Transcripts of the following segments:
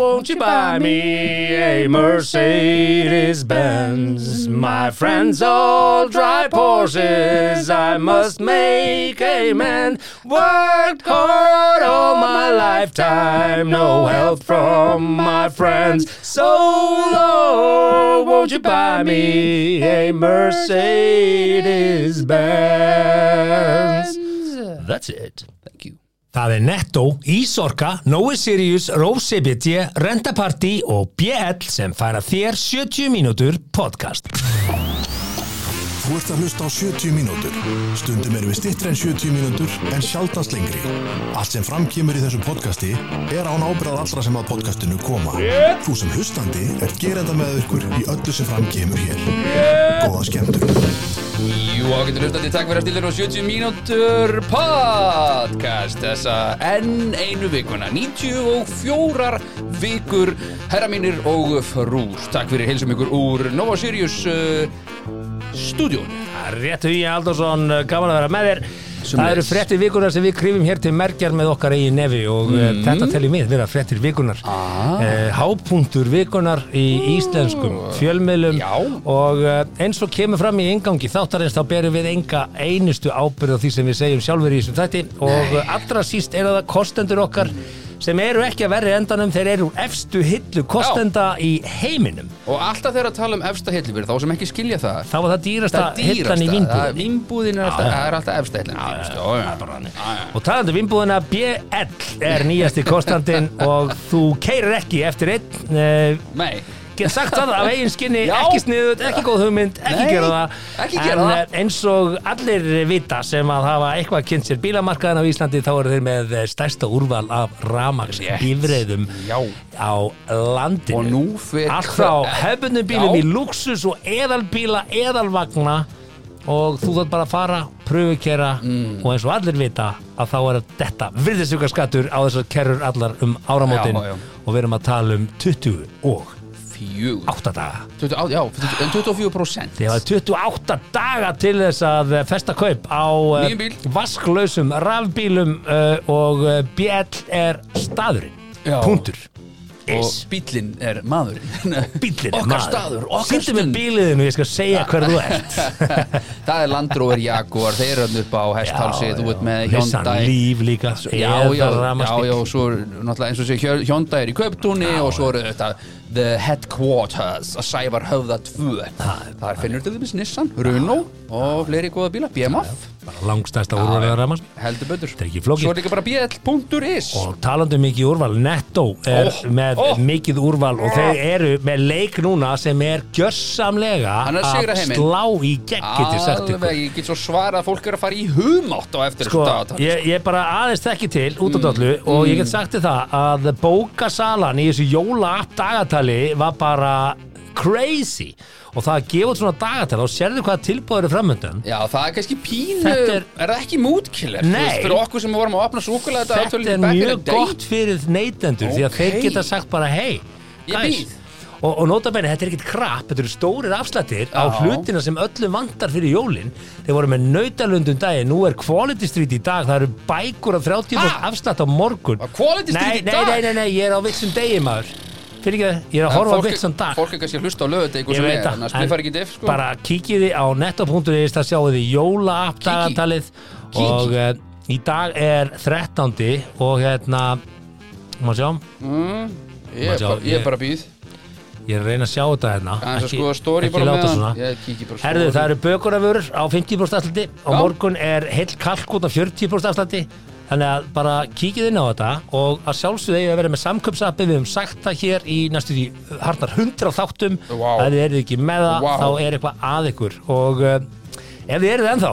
won't you buy me a Mercedes Benz? My friends all drive Porsches. I must make a man. Worked hard all my lifetime, no help from my friends. So Lord, won't you buy me a Mercedes Benz? That's it. Thank you. Það er Netto, Ísorka, Nói Sirius, Rósi BT, Rentaparty og BL sem færa þér 70 mínútur podcast. Þú ert að hlusta á 70 mínútur. Stundum erum við stittri en 70 mínútur en sjaldast lengri. Allt sem framkýmur í þessu podcasti er án ábyrðað allra sem að podcastinu koma. Þú sem hlustandi er gerenda með ykkur í öllu sem framkýmur hér. Góða skemmtur. Jú, ágættur hlustandi, takk fyrir að stilla og 70 mínútur podcast þessa enn einu vikuna 94 vikur herra mínir og frúr takk fyrir heilsum ykkur úr Nova Sirius uh, stúdjón Réttu í Aldarsson, eh, gaman að vera með þér. Það eru Sömuleiðis. frettir vikunar sem við krifum hér til merkjar með okkar eigin nefi og mm. Mhm. þetta teljum við vera frettir vikunar. Ah. Hápunktur vikunar í íslenskum fjölmiðlum Já. og eh, eins og kemur fram í engangi þáttarins þá berum við enga einustu ábyrð á því sem við segjum sjálfur í þessum þætti og Nei. allra síst er það kostendur okkar sem eru ekki að verri endanum, þeir eru úr efstu hillu kostenda í heiminum. og alltaf þegar að tala um efsta hellu fyrir þá sem ekki skilja það Þá var það dýrasta, það er dýrasta, hillan í það vinnbúðinni. er vinnbúðin er alltaf, Já. það er alltaf efsta hillin dýrasta, já, já. Já, já. Og talandi um innbúðina BL er nýjasti kostandinn og þú keirir ekki eftir einn eh, Nei, Get sagt það af eigin skinni, Já. ekki sniðut, ekki góð hugmynd, ekki Nei, gera það ekki gera En það. eh, eins og allir vita sem að hafa eitthvað kynnt sér bílamarkaðin á Íslandi þá eru þeir með eh, stærsta úrval af ramaks Rétt. bifreiðum Já. á landinu og nú fyrir Allt frá hefðbundum bílum Já. í luxus og eðalbíla, eðalvagna og þú þarf bara að fara, pröfukera Mm. og eins og allir vita að þá er þetta virðisauka skattur á þessar kerrur allar um áramótin Já, já. og við erum að tala um 20 og fjögur 8 daga. 28, já, en 24% Þið hafa 28 daga til þess að festa kaup á eh, Nýjum bíl. vasklausum rafbílum eh, og eh, BL er staðurinn, Já. punktur. og Is. bílinn er maður Bíllinn er okkar maður. staður, okkar Sýndu mér stund bíliðinu, ég skal segja hver þú ert. það er Land Rover Jaguar þeir eru þarna upp á hesthálsi, þú ert með Nissan Hyundai Líf líka já, já, já, rafmagnsbíll. já, og svo er náttúrulega eins og sé Hjö- Hyundai er í köptúni og svo eru þetta The Headquarters að sævar höfða 2 þar finnur til þess Nissan, Renault og fleiri góða bíla, BMF bara langstæsta úrvalega rafmagn heldur betur, Þetta er ekki flókið. svo er líka bara bl.is og talandi um mikið úrval, Netto er Ó, með ó. mikið úrval og Oh. þeir eru með leik núna sem er gjörsamlega Hann er að sigra að heiminn. slá í gegn getið sagt ykkur alveg, ég get svo svarað að fólk er að fara í hugmátt á eftir Sko, þessu dagatal ég, ég bara aðeins þekki til út af Mm, dollu og ég get sagt þér það að bókasalan í þessu jólaapp dagatali var bara crazy og það að gefa út svona dagatali og sérðu hvað tilbúður er framöndan Já, það er kannski pínu, Þetta er, er- það ekki mútkiller? Nei. Þú veist, Fyrir okkur sem vorum að opna súkulega þetta þetta er mjög gott fyrir neytendur því að Ok. þeir geta sagt bara hei, Ég guys." býð. og, og notabene, þetta er ekkert krap þetta eru stórir afslættir á Já. hlutina sem öllum vantar fyrir jólin þeir voru með nautalundum dagi, nú er Quality Street í dag, það eru bækur af 30 Ha? afslætt á morgun Á Quality Street nei, í nei, dag? Nei, nei, nei, ég er á vitsum degi maður fyrir ekki það, ég er að horfa á vitsum dag Fólk er kannski að hlusta á lögut eitthvað Ég sem veit er, það, annars en við fara ekki diff, sko bara kíkiði á netto.is það sjáuði jólaapp Kíkið. dagatalið Kíkið. og uh, í dag er 13. og hérna maður sjá, Ég er Maður bara, sjá, ég ég- er bara býð ég er að reyna að sjá þetta hérna Aðeins að skoða story ekki bara láta meðan. svona Ég kíki bara á Herðu, story. það eru bökunarvörur á 50% afsluti og Já. morgun er heill kalk út á 40% afsluti þannig að bara kíkið inn á þetta og að sjálfsögðu eigið að vera með samköpsappi við höfum sagt það hér í næstu því harnar 100 þáttum Vá. að þið eruð ekki með það Vá. þá er eitthvað að ykkur og uh, ef þið eruð ennþá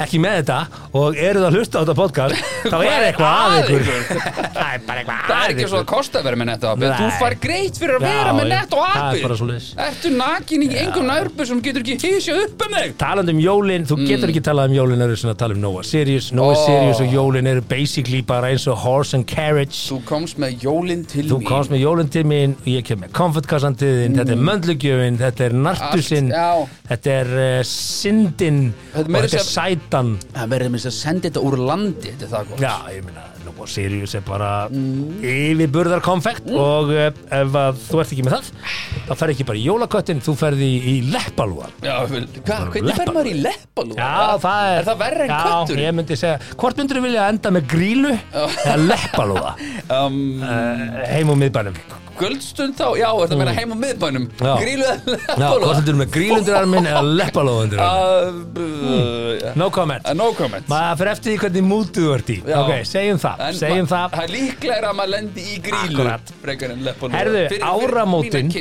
ekki með þetta og eruð að hlusta á þetta podcast þá Hvað er er eitthvað að að ykkur ykkur? það er bara eitthvað Það að er ekki svo ykkur að kosta að vera með netto appi Þú Nei. far greitt fyrir að Já, vera með já, netto það er appi bara svoleiðis. Ertu nakin í engum nörbu sem getur ekki hysja upp um þig talandi um jólin, þú getur ekki talað um jólin eru svona að tala um Noah Sirius Noah Mm. Ó. Sirius og jólin eru basically bara eins og horse and carriage Þú komst með jólinn til þú mín komst með jólin til mín og ég kem með komfortkassan til þín þetta er möndlugjöfin, þetta er nartusinn Mm. Allt, þetta er uh, syndin Þetta er og meira þetta er sætan Það verður með þess að senda þetta úr landi Þetta er það gott já, ég meina, Noah og Sirius er bara Mm. yfirburðarkonfekt og eh, ef að þú ert ekki með það þá ferð ekki bara í jólaköttin, þú ferð í, í leppalúan Já, vel, hvað, hvernig fer Leppalúð. maður í leppalúð? Já, það er Er það verra en já, köttur? Ég myndi segja, hvort myndur þú vilja enda með grílu eða leppalúða Um, eh, heim og miðbænum Guldstund þá, já, er það meira heim á miðbænum Mm. Já. Grílu eða Já, hvort leppalúð? myndur þú með grílundirarmin eða leppalúðundirarmin Uh, No comment uh, No comment Maður fyrir eftir því hvernig mútu þú ert í Já. Ok, segjum það, En segjum ma- það Það er líklegra að maður lendi í grílu Akkurat. Frekar en leppalúð Herðu, áramótin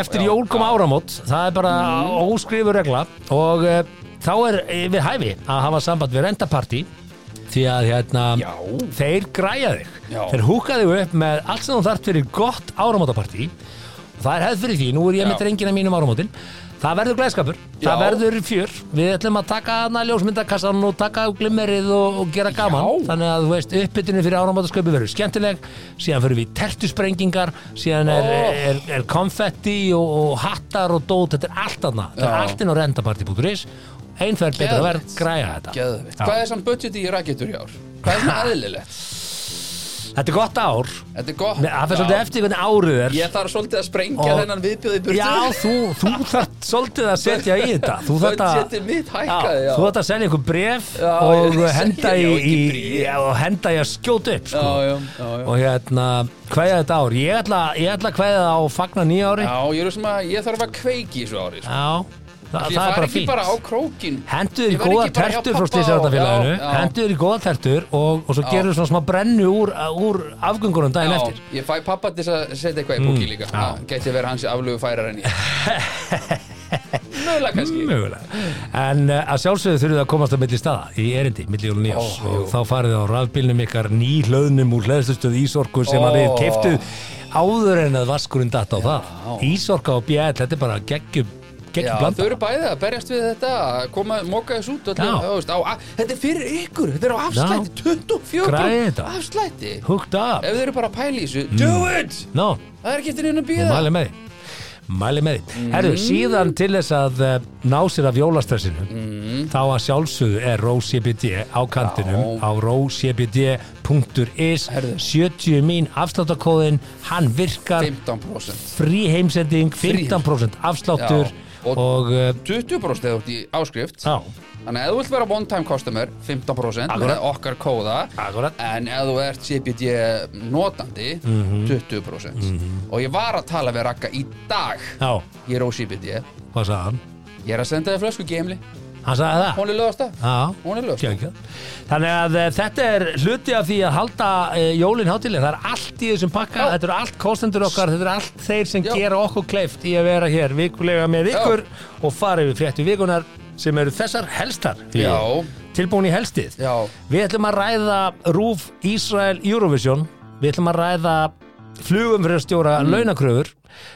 Eftir jól kom áramót Það er bara Mhm. óskrifur regla Og uh, þá er eh, við hæfi að hafa samband við rendapartí Því að hérna Já. Þeir græja þig Já. Þeir húka þig upp með allt sem þú þarft fyrir gott áramótapartí Og það er hefð fyrir því Nú er Já. ég með drengina mínum áramótin Það verður glæðskapur, það Já. verður fjör Við ætlum að taka hana ljósmyndakassan og taka glimmerið og, og gera gaman Já. þannig að þú veist uppbytunni fyrir áramátasköpi verður skemmtileg síðan fyrir við í tertusprengingar síðan er, Ó. er, er konfetti og, og hattar og dót þetta er allt annað, þetta er Já. allt inn á rendaparty.is einferð betur að verð, Geðveikt. græja þetta Já. Hvað er samt budget í raketur í ár? Hvað er svona aðlilegt? þetta er gott ár, Þetta er gott Nei, það fyrir Já. svolítið eftir hvernig árið er Ég þarf svolítið að sprengja Og- þennan viðbjóð í burtu já, þú, þú þarft svolítið að setja í þetta þú þarft að Budgetið mitt Já, hækkaði, já þú ætti að selja ykkur bref Já, og ég- henda í, ég á ekki í, bréf. já, og henda í að skjóta upp sko. Já, já, já, já. og hérna, hvaðið þetta ár ég ætla, ég ætla að hvaðið á fagna nýja ári Já, ég, er svona, ég þarf að kveiki í þessu ári sko. Já, Þa, það er Ég fari bara ekki fínt bara á krókin Hendu þér í Ég verð góða ekki bara hjá tertur pabba frá og- stísarðafélaginu Já, já. Hendu þér í góða tertur og, og svo gerur svona smá brennu úr, úr afgöngunum daginn Já, eftir Mm. ég fæ pappa til þess að setja eitthvað í bóki líka já. Já, Gæti verið hans aflögu færar en ég Mögulega kannski Mögulega En uh, að sjálfsögðu þurfið að komast að milli staða í erindi, milli jólun nýjás Ó, og þá farið á rafbílnum ykkar ný hlöðnum úr hleðslustöð Ísorku sem að við Ó. keiftuð áður en að vaskurinn datt á það Ísorka og BL, þetta er bara geggjum Já, geggjum þau blanda eru bæði að berjast við þetta að koma, moka þessu út öllu, Já. þú veist, á, á, Þetta er fyrir ykkur, þetta er á afslætti 24 Græðið þetta. Mm. afslætti Ef Hooked up, þau eru bara að pæla í þessu, do it no, Það er ekki eftir neina að og býða mæli með því mæli með því, herru, Mm. síðan til þess að eh, ná sér af jólastressinu Mm. þá að sjálfsögðu er RóCBD á kantinum á rócbd.is Herðu. 70 mín afsláttakóðin hann virkar 15% frí heimsending 15% afsláttur Já, og, og og- eh, 20% eða út í áskrift já, Þannig að ef þú vilt vera one time customer 15% Akkurat. með okkar kóða Akkurat. En ef þú ert CBD notandi Mhm. 20% Og ég var að tala við Ragga í dag já, Ég er á CBD hvað sagði hann? Ég er að senda þér flösku gemli hann sagði það Hún er lögast að Já, Hún er lögst. geggjað. Þannig að eh, þetta er hluti af því að halda e, jólin hátileg, það er allt í þessum pakka Já. þetta eru allt kostendur okkar, þetta eru allt þeir sem Já. gera okkur kleift í að vera hér vikulega með ykkur og fara yfir fréttu vikunar sem eru þessar helstar Því Já. tilbúin í helstið Já. Við ætlum að ræða Rúf Ísrael Eurovision Við ætlum að ræða flugum fyrir að stjóra Mm. launakröfur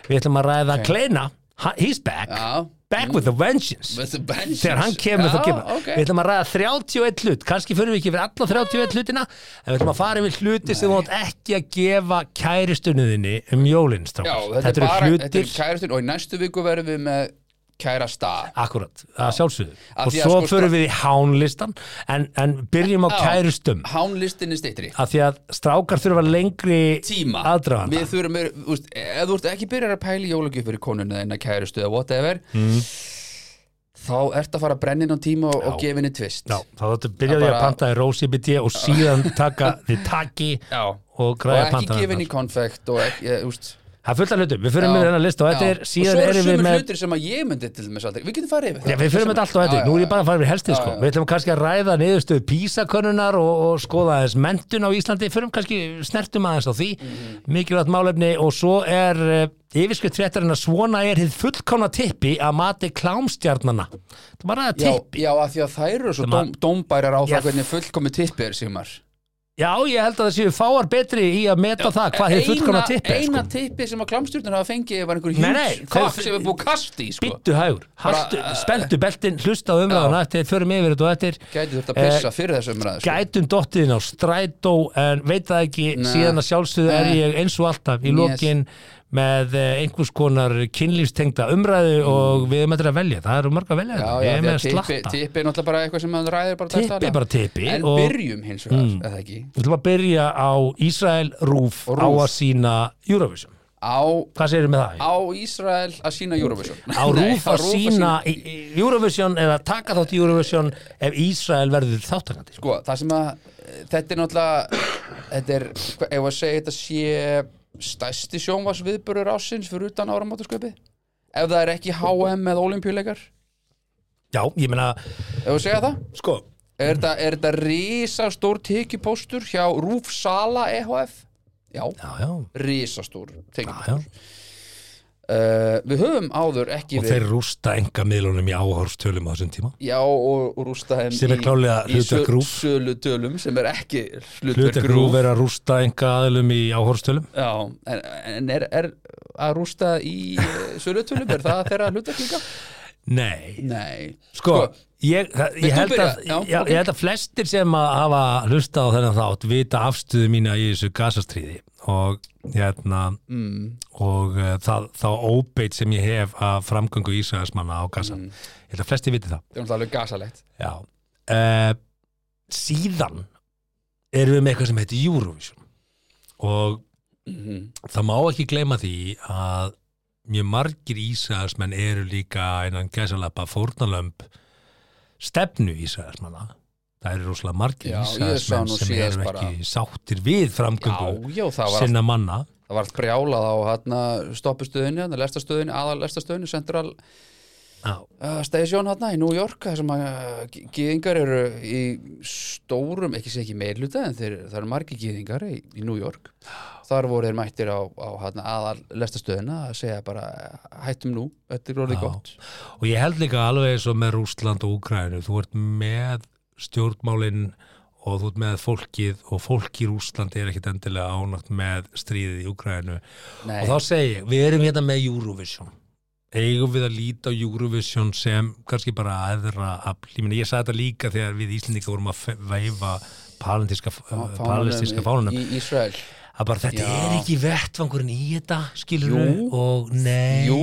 Við ætlum að ræða Kleina, Ha- he's back Já. back with a vengeance With the benches. þegar hann kemur Já, þá kemur okay. við ætlum að ræða 31 hlut kannski fyrir við ekki fyrir alla 31 hlutina en við ætlum að fara yfir hluti sem þú átt ekki að gefa kæristunniðinni um jólinn Já, strákar. þetta, er bara Þetta hlutir er kærastinn Og í næstu viku verðum við með kærasta akkurat, að sjálfsögðu Af og því að svo sko, förum við í hánlistan en, en byrjum á Já. kærustum Hánlistin er stittri af því að strákar þurfa lengri tíma aðdrafanda Við þurfum, er- þú veist, ef þú ert ekki byrjar að pæla í jólagjöf fyrir konuna þinna kærustu eða whatever þá ert að fara að brenna inn á tíma og, og Mm. Já. gefa henni tvist Já, þá þáttu byrjaði Það að bara- panta í Rósi BD og síðan taka þið taki Já. og og græða ekki panta gefa henni konfekt og ekki, eh, ég, úst, Það er fullt af hlutum, við fyrir með þennan list og þetta er, og síðan svo eru erum við sumir með hlutir sem að ég myndi til með svolítið, við getum farið yfir Já, við fyrir með þetta allt á Já, þetta, já, nú er ég já. bara að fara við helstið sko. Já, já. Við ætlum kannski að ræða niðurstöðu písakönnunar og, og skoða aðeins mentun á Íslandi, fyrir kannski snertum aðeins á því, Mhm. mikilvægt málefni og svo er uh, yfirskutt fréttarinn að svona er hið fullkána tippi að mati klámstjarnana. Það var aðeins Já, tippi. já, að því að þær eru svo Sem að- dóm, dómbærar á Já. það hvernig fullkomi tippi er Sigmar Já, ég held að það séu fáar betri í að meta það hvað hið fullkána tippi er Eina sko. tippi sem að klamstjórnir hafa fengið var einhver Nei, hjúts nei, kokk- sem er búið kast í sko. Bittu hægur, Bara, Haltu, eh, spenntu beltin, hlusta á umræðuna eftir, förum yfir þetta og eftir. Gæti þurft að Eh, pissa fyrir þessu umræðu sko. gætum dottiðin á strætó en veit það ekki, Nei. síðan að sjálfsögðu er Nei. ég eins og alltaf í Yes. lokin með eh, einhvers konar kynlífstengda umræðu og við erum eftir að velja, það eru marg að velja Mm. Já, þarna. já, ég er því með að að tippi, slatta tippi er náttúrulega bara eitthvað sem maður ræðir bara Tippi dags er daglega. bara tippi En og- byrjum hins vegar, Mm. eða ekki Við ætlum að byrja á Ísrael Rúf, Og á RÚV. að sína Eurovision. Á, Hvað segirðu með það? á Ísrael að sína Eurovision Á Nei, Rúf að sína í- í- Eurovision eða taka þátt í Eurovision ef Ísrael verður þáttakandi. Sko, það sem að þetta er náttúrulega þetta er, hva- ef að segja þetta sé stæsti sjónvarsviðbörur ásins fyrir utan áramótasköpi ef það er ekki HM eða olimpíuleikar Já, ég meina, ef að segja það sko, er þetta, er þetta risastór tekjupóstur hjá Rúf Sala EHF já, já, já, risastór tekjupóstur já, já. uh, við höfum áður ekki Og verið- þeir rústa enga miðlunum í áhorfstölum á þessum tíma. Já, og, og rústa þeim Sem er klárlega hlutverk RÚV. Sölu tölum sem er ekki hlutverk Hlutir grúf Rúf er að rústa enga aðlum í áhorfstölum. Já, en, en er, er að rústa í eh, sölu tölum er það þeirra hlutverk líka? Nei, Nei sko, ég, það, Vilt ég, þú held byrja? að, Já, já, ok. ég held að flestir sem að hafa hlusta á þennan þátt vita afstöðu mína í þessu gasastríði og hérna mm, og uh, það, þá óbeitt sem ég hef af framgöngu Ísraelsmanna á Gaza Mm. ég held að flesti viti það Það er náttúrulega alveg gasalegt Já. Uh, síðan erum við með eitthvað sem heitir Eurovision og mm. það má ekki gleyma því að mjög margir Ísraelsmenn eru líka einan gæsalappa fórnalömb stefnu Ísraelsmanna það eru rosalega margir Já, ég sá Ísraelsmenn nú sem síðast eru bara- ekki sáttir við framgöngu Já, já, það var, sinna manna það var brjálað á hérna, hana, stoppustöðinni, hana, lestastöðinni, aðal lestastöðinni, central Já. uh, station hana í New York þar sem að uh, gýðingar eru í stórum, ekki sé ekki meirluta en þeir, það eru margi gýðingar í, í New York þar voru þeir mættir á, á hana, aðal lestastöðina að segja bara uh, hættum nú, þetta er orðið Já. gott og ég held líka alveg eins og með Rúsland og Úkrænu þú ert með stjórnmálin og þú ert með fólkið og fólk í Rúsland er ekkit endilega ánátt með stríðið í Úkrænu Nei, og þá segi ég, við erum hérna með Eurovision eigum við að líta á Eurovision sem kannski bara aðra afl, ég meina ég sagði þetta líka þegar við Íslendinga vorum að fe- veifa palentíska, fánanum palestinska í- fánunum í Ísrael eh, að bara þetta Já. er ekki vettvangurinn í þetta skilur Jú. og nei Jú,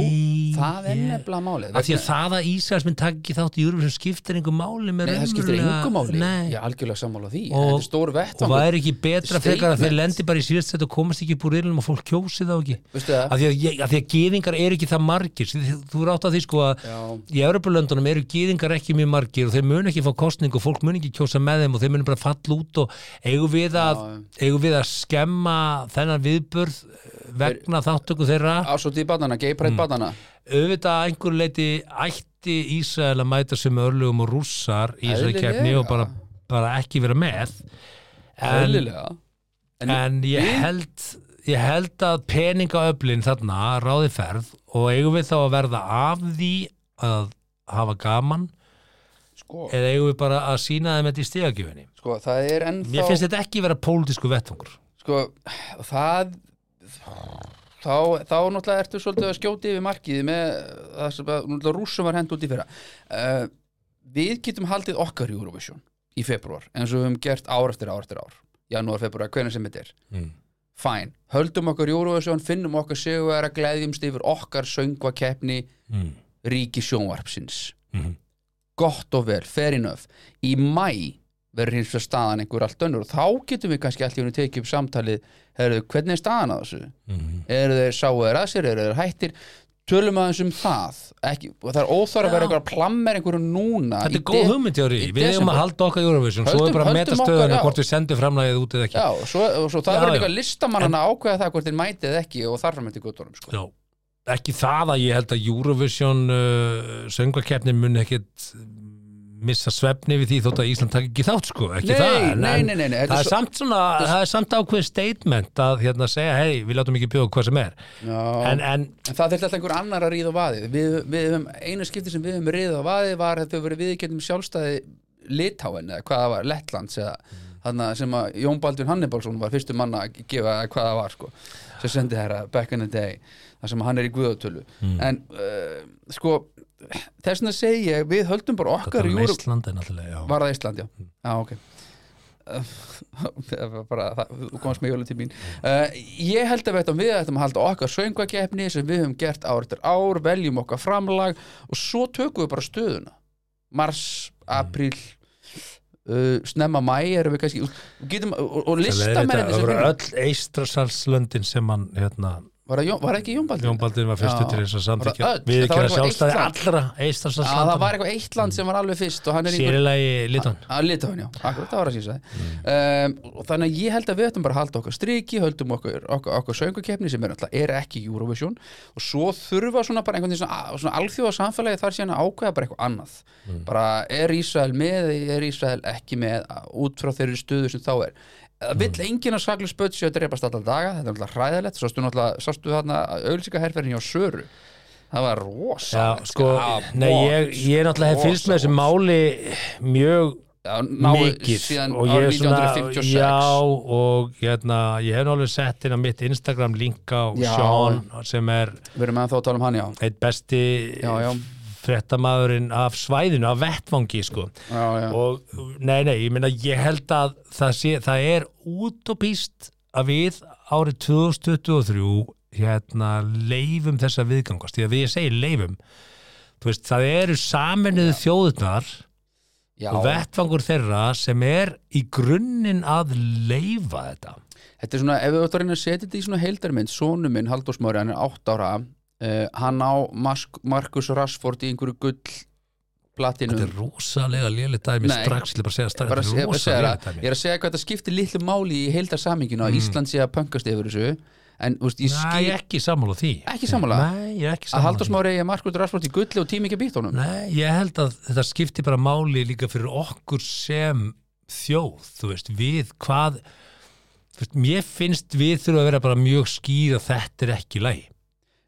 það er ég- nefnilega málið Af því að það að Ísraelsminn takk ekki þátt í Eurovision skiptir einhver máli með Nei, það skiptir raunverulega- engum máli Nei. Ég er algjörlega sammála því Og- Þetta er stór og vettvangur það er ekki betra frekar að þeir Statement. lendi bara í síðast þetta og komast ekki upp úr reilum og fólk kjósi þá ekki Veistu það? af því að, ég- af því að geðingar eru ekki það margir Þú- þú- þú er átt að því sko að Já. í Evropalöndunum eru geðingar ekki mjög margir og þeir mun ekki fá kostning og fólk mun ekki kjósa með þeim og þeir mun bara falla út og eigum við að, eigum við að skemma þennan viðburð eh, vegna þáttöku þeirra Ásóti í badana, gay Mm. pride badana auðvitað að einhverju leiti ætti Ísrael að mæta sem örlugum og rússar í þessari Eðlilega. keppni og bara, bara ekki vera með en, Eðlilega en ég held ég held að peningaöflin þarna ráði ferð og eigum við þá að verða af því að hafa gaman sko, eða eigum við bara að sína þeim þetta í stegagjöfinni sko, það er mér finnst ennþá þetta ekki vera pólitísku vettfangur Sko, það Þá, þá náttúrulega ertu svolítið að skjóti yfir markið með það sem að náttúrulega rússum var hend út í fyrra uh, Við getum haldið okkar í Eurovision í februar eins og við höfum gert ár eftir ár eftir ár janúar, februar, hvernig sem þetta er mm. fæn, höldum okkar Eurovision finnum okkar sigurvera, gleðjumst yfir okkar söngvakeppni Mm. ríki sjónvarpsins Mhm. gott og vel, fair enough í mæ verður hins vegar staðan einhver allt önnur og þá getum við kannski allir að tekið upp samtalið, herðu, hvernig er staðan að þessu Mm. eru þeir sáu þeir að sér, eru þeir hættir tölum aðeins um það Ekki, og það er óþvara að vera eitthvað að plammer einhverju núna Þetta er í góð de- hugmynd, Jóri. í Við eigum desember. að halda okkar Eurovision, svo er Höldum- bara að höldum meta okkar, stöðuna já. hvort við sendum framlagið út eða ekki. Já, og svo, og svo Já, það já. verður líka listamannana ákveða það hvort þeir mætið ekki og þarfum þetta í guttunum sko. Já, ekki það að ég held að Eurovision uh, söngakeppnin muni ekkit missa svefni við því þótt að Ísland takk ekki þátt sko, ekki Nei, það en, nei, en nei, nei, nei, þetta það, er er svo- samt svona, það er samt ákveð statement að hérna segja, hei, við látum ekki bjóða hvað sem er Já. en, en En það þurfti alltaf einhver annar að ríða á vaðið við, við höfum, einu skipti sem við höfum ríða á vaðið var að þau verið viðkjöndum sjálfstæði Litáin eða hvað það var, Lettlands eða þarna sem að Jón Baldvin Hannibalsson var fyrstu manna að gefa eða hvað það var sko, sem sendi þeirra back in the day þar sem hann er í guðatölu Mm. en uh, sko þess vegna segi ég, við höldum bara þetta okkar er Sko, Euro- Ísland en alltaf, já var það Ísland, já, já ok það var bara, það, þú komst með jólum til mín uh, ég held að við ættum við ættum að halda okkar söngvakeppni sem við höfum gert ár eftir ár, veljum okkar framlag og svo tökum við bara stöðuna mars, Mm. apríl uh, snemma mæ erum við kannski og getum, og, og listamennin Það sem voru fengu- öll eistrasalslöndin sem hann, hérna, var, það Jón- var ekki Jón Baldur? Jón Baldur var fyrstu Já. til eins að Það samþykja var öll, Við það ekki var að eitthvað sjálfstæði eitt land. allra Já, það var eistrasalslöndin eitthvað eitt land sem var alveg fyrst og hann er einhver- Sýrilagi Litan að lita hann já, akkurat, það var að sísa Mm. um, og þannig að ég held að við ættum bara að halda okkar striki höldum okkar, okkar, okkar söngukeppni sem er, náttúrulega- er ekki Eurovision og svo þurfa svona bara einhvern veginn svona, svona alþjóða samfélagi þar síðan að ákveða bara eitthvað annað Mm. bara er Ísrael með eða er Ísrael ekki með að- út frá þeirri stöðu sem þá er Það Mm. vill enginn að saklu spöld sér að dreipast alla daga, þetta er náttúrulega hræðilegt, sástu náttúrulega, sástu þarna auðlýsingaherferðin hjá Söru, það var rosa. Já, sko, nei, ég, ég náttúrulega hef fylgst með þessu máli mjög mikið síðan og ég árið er svona, 1956. já og hérna, ég hef nú alveg sett inn á mitt Instagram linka og Já. Sean sem er Við erum ennþá að tala um hann, já. eitt besti Já, já. fréttamaðurinn af svæðinu, af vettvangi sko. já, já. og nei, nei, ég meina ég held að það, sé, það er útopíst að við árið 2023 hérna leifum þessa viðgangast, því að við ég segi leifum þú veist, það eru saminuðu þjóðunar já. og vettvangur þeirra sem er í grunninn að leifa þetta Þetta er svona, ef við ættum að reyna að setja þetta í svona heildarmynd, sonu minn, Halldór Smári, hann er 8 ára, uh, hann á Mask, Markus Rashford í einhverju gull þetta platinum. er rosalega lélitt dæmi Mm. Nei. strax, ég ætla bara að segja stærð, Bara að þetta segja, er að segja rosalega það, lélitt ég dæmi Mm. er að segja hvað þetta skiptir litlu máli í heildarsaminginu að Ísland sé að pöngast yfir þessu, en úst, Nei, ég ég skil er ekki sammála því Ekki sammála? Nei, ég er ekki að sammála Halldór því. Smári eigi Markus Rashford í gulli og tími ekki að býta honum. Nei, ég held að þetta skipti bara máli líka fyrir okkur sem þjóð, þú veist, við hvað, þú veist, mér finnst við þurfum að vera bara mjög skýr að þetta er ekki læg.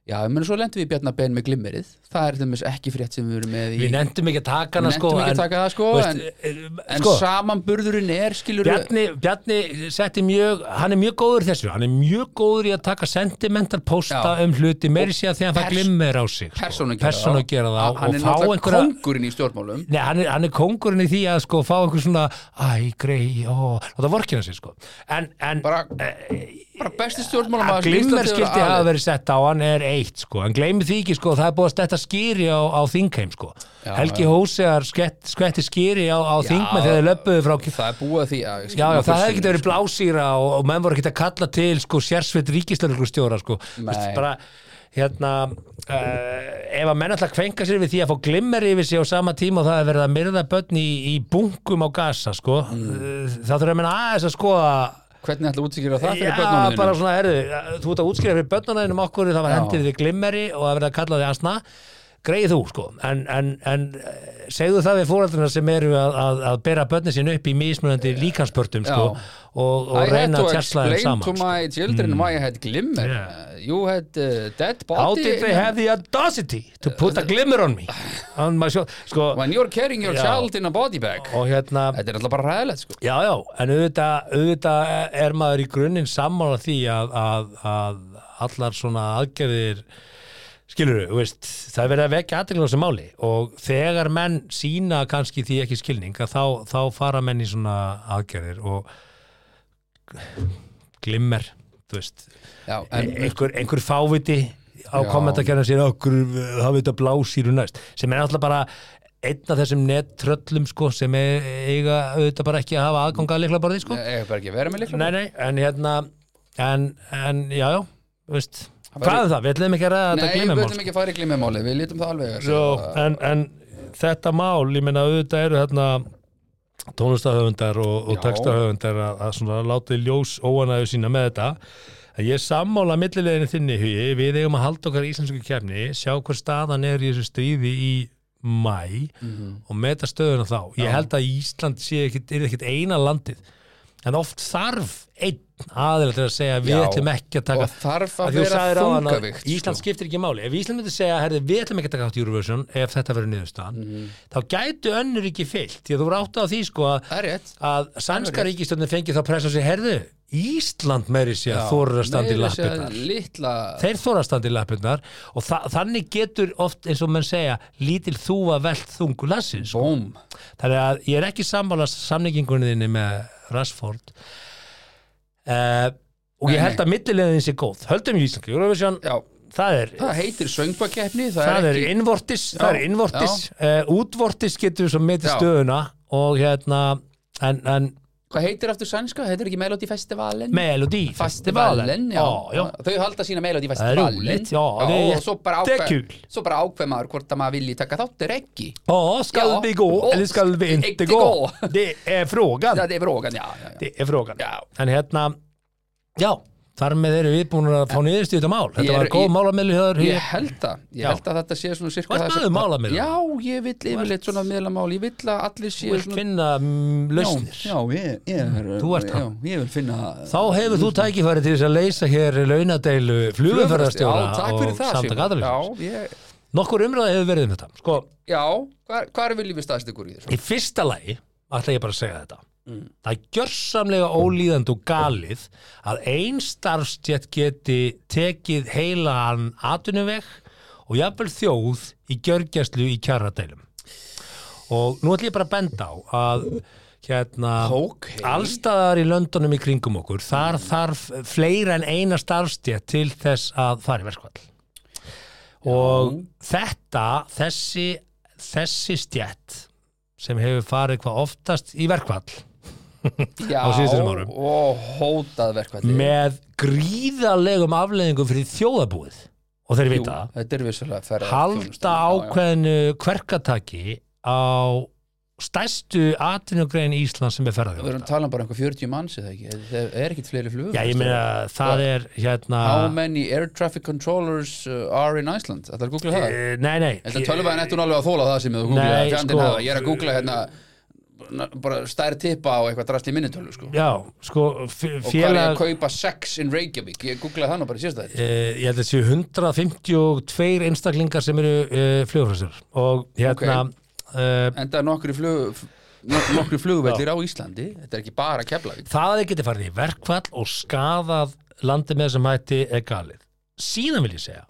Já, ég menn svo lendum við Bjarnar Ben með glimmerið, það er þeim ekki frétt sem við erum með í... Við nefndum ekki að taka hana Við sko, nenntum ekki að taka það, sko, þú en- eh, En sko, samanburðurinn er, skilur Bjarni, Bjarni setti mjög, hann er mjög góður í þessu, hann er mjög góður í að taka sentimental posta Já. um hluti, meiri sé að því að hann fær Pers- glimmer á sig, persónu gera persónu það. gera það hann er og fá náttúrulega einhverja... kóngurinn í stjórnmálum Nei, hann er, hann er kóngurinn í því að sko fá einhver svona, æ, grei, ó, og það vorkina sér sko. En, en eh, bara, bara besti stjórnmálum að glimmer skildi hafa verið sett á hann er eitt sko, en gleymi því ekki sko, það er búið að stetta skýri á, á þingheim sko. Já, Helgi Hósegar skett, skvetti skýri á, á þingmenn þegar þeir löbbuðu frá það er búið að því að Já, já, það hefði ekki verið blásýra og, og menn voru ekki að kalla til sko, sérsveit ríkislögreglustjóra sko. Þú veist, Nei. bara, hérna, uh, ef að menn alltaf kvenka sér við því að fá glimmer yfir sig á sama tíma og það er verið að myrða börn í, í bunkum á gasa sko. mm. þá þurfum menn aðeins að skoða hvernig ætla útsikir á það Já, fyrir börnunum bara þínum? svona, herðu, þú ert að útskýra fyrir börnunum okkur, það var Já. hendið við glimmeri og það verið að kalla því asna greið þú sko, en, en, en eh, segðu það við fóraldrarna sem eru að, að, að bera börnin sín upp í mismunandi líkanspörtum sko, Já. og, I og had reyna to að tjastla þeim explain saman to sko. my children why I had glimmer Yeah. Uh, you had uh, dead How body did they have the audacity to put a glimmer on me on my shoulder, sko, when you're carrying your Já. child in a body bag og hérna þetta er alltaf bara ræðilegt sko Já, já, en auðvitað, auðvitað er maður í grunninn sammála því að, að, að allar svona aðgerðir skilur við, veist, það er verið að vekja aðtekla á þessu máli og þegar menn sína kannski því ekki skilning að þá, þá fara menn í svona aðgerðir og glimmer, þú veist já, en, einhver, einhver fáviti á Já. kommentarkerðan sér okkur hafa þetta eh, blásýru næst sem er alltaf bara einn af þessum nettröllum sko, sem er, eiga auðvitað bara ekki að hafa aðganga að leikla borði sko. ég hef bara ekki verið með líka nei, nei, en hérna en, en já, já, veist væri- hvað er það, við ætlum ekki að ræða nei, þetta við glimmermál viljum ekki fara í glimmermáli við lítum það alveg að Jó, segja það. en, en þetta mál, ég meina auðvitað eru þarna tónlistahöfundar og, og Já. textahöfundar að, að svona láta í ljós óanæðu sína með þetta að ég er sammála millileginu þinni hugi, við eigum að halda okkar í íslensku kefni, sjá hver staðan er í þessu stríði í mæ Mhm. og meta stöðuna þá ég held að Ísland sé ekkit, er ekkit eina landið en oft þarf einn einn aðeins til að segja við Já, ætlum ekki að taka og þarf að Af því þú vera sagðir áðan að þungavíkt, Ísland sko. skiptir ekki máli ef Ísland myndi segja, herði, við ætlum ekki að taka átt Eurovision ef þetta verður niðurstaðan Mhm. þá gætu önnur ekki fyllt því að þú voru átt á því sko að, Það er rétt að sænska ríkistjónin fengi þá pressa á sig herðu, Ísland meiri sé að þóra að standa í Meira segja lappirnar Litla þeir þóra að standa í lappirnar og þa þannig getur oft eins og menn segja lítil þúa velt þungu lassin sko. Bóm þannig að ég er ekki sammála samningingunni þinni með Rashford uh, og Nei, ég held að millilegðin sé góð höldum í Ísland, Eurovision Já, það er, það heitir söngbakeppni Það, það er ekki innvortis, það er Já, innvortis uh, útvortis getur við svo metið Já. stöðuna og hérna en, en Hvað heitir aftur sænska? Heitir ekki Melody Festivalin? Melody Festivalin, já. já, já. Þau halda sína Melody Það er Festivalin rúlið, já, og við- svo bara þetta er ákveð kul. Svo bara ákveð maður hvort að maður vilji taka þátt er ekki Ja, skal Ja, vi gå och eller skal vi inte, inte gå? gå? Det är frågan. Það er brókan, já, já, já. Det er frågan. Já. En hérna, já, þar með erum við búin að fá niðurstu þetta mál. Þetta Ég er- var góð ég- málamili höður. Ég held það, ég Já. held að þetta sé svona sirka Þú ert það sem- maður um málamiðla. Já, ég vill yfirleitt svona miðlamál, ég vill að allir Þú séu vilt finna mm, lausnir. Já, já ég, ég er Þú ert já, Ég vil finna Þá hefur þú tækifæri til þess að leysa hér launadeilu flugumferðarstjóra Já, takk fyrir og það, samtak Sigmar. aðalins. Já, ég, Nokkur umræði hefur verið um þetta. Sko, já hvar, hvar viljum við staðst ykkur í þessu? í fyrsta lagi ætla ég bara að segja þetta. Það er gjörsamlega ólíðand og galið að ein starfstjætt geti tekið heilan atunumveg og jafnvel þjóð í gjörgjæslu í kjarradeilum. Og nú ætla ég bara að benda á að hérna, Ok. Mm. allstaðar í löndunum í kringum okkur, þar þarf fleira en eina starfstjætt til þess að fara í verskvall. Og þetta, þessi, þessi stjætt sem hefur farið hvað oftast í verkvall Já, á síðustu þessum árum. og hótað verkvætti með gríðarlegum afleðingum fyrir þjóðabúið og þeir vita það, Þetta er vissulega ferða halda ákveðinu kverkataki á stærstu atvinnugrein Íslands sem er Við erum að ferðarþjónusta. tala um bara einhver 40 manns eða ekki Það er ekkit fleiri flugum Já, ég meina, það er hérna How many air traffic controllers uh, are in Iceland? Þetta er að googla það Eh, Nei, nei Þetta tölvaðan eftir hún alveg að þóla það sem þú googla Nei, Fjandinn sko. hafa, Ég er að googla hérna na- bara stær tippa á eitthvað drasli minnitölu sko. Já, sko, og hvað er ég félag að kaupa sex in Reykjavík ég googlaði það nú bara í síðasta þetta Uh, ég held að séu 152 einstaklingar sem eru uh, flugfræsir og hérna okay. en það er nokkri, flug, nok- nokkri flugvellir á Íslandi þetta er ekki bara Keflavík það að þið geti farið í verkfall og skaðað landi með þessum hætti er galið. Síðan vil ég segja,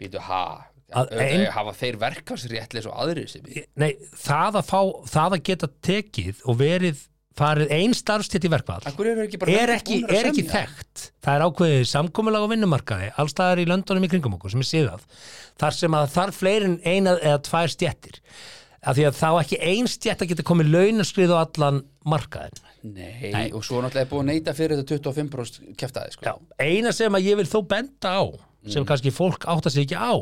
Býtu, ha, Að ein- ein... hafa þeir verkarsréttleis og aðri sem nei, það að, fá, það að geta tekið og verið farið ein starfstétt í verkfall Akkur eru ekki bara er menn ekki, búnir að er ekki semja? þekkt. Það er ákveðið samkomulag á vinnumarkaði, allstaðar í löndunum í kringum okkur sem er síðað, þar sem að þarf fleirin eina eða tvær stjettir. Af því að þá ekki ein stjett að geta komið launaskrið á allan markaðin. Nei, og svo náttúrulega er búið að neita fyrir þetta 25% keftaði sko. Já, eina sem að ég vil þó benda á sem kannski fólk átta sig ekki á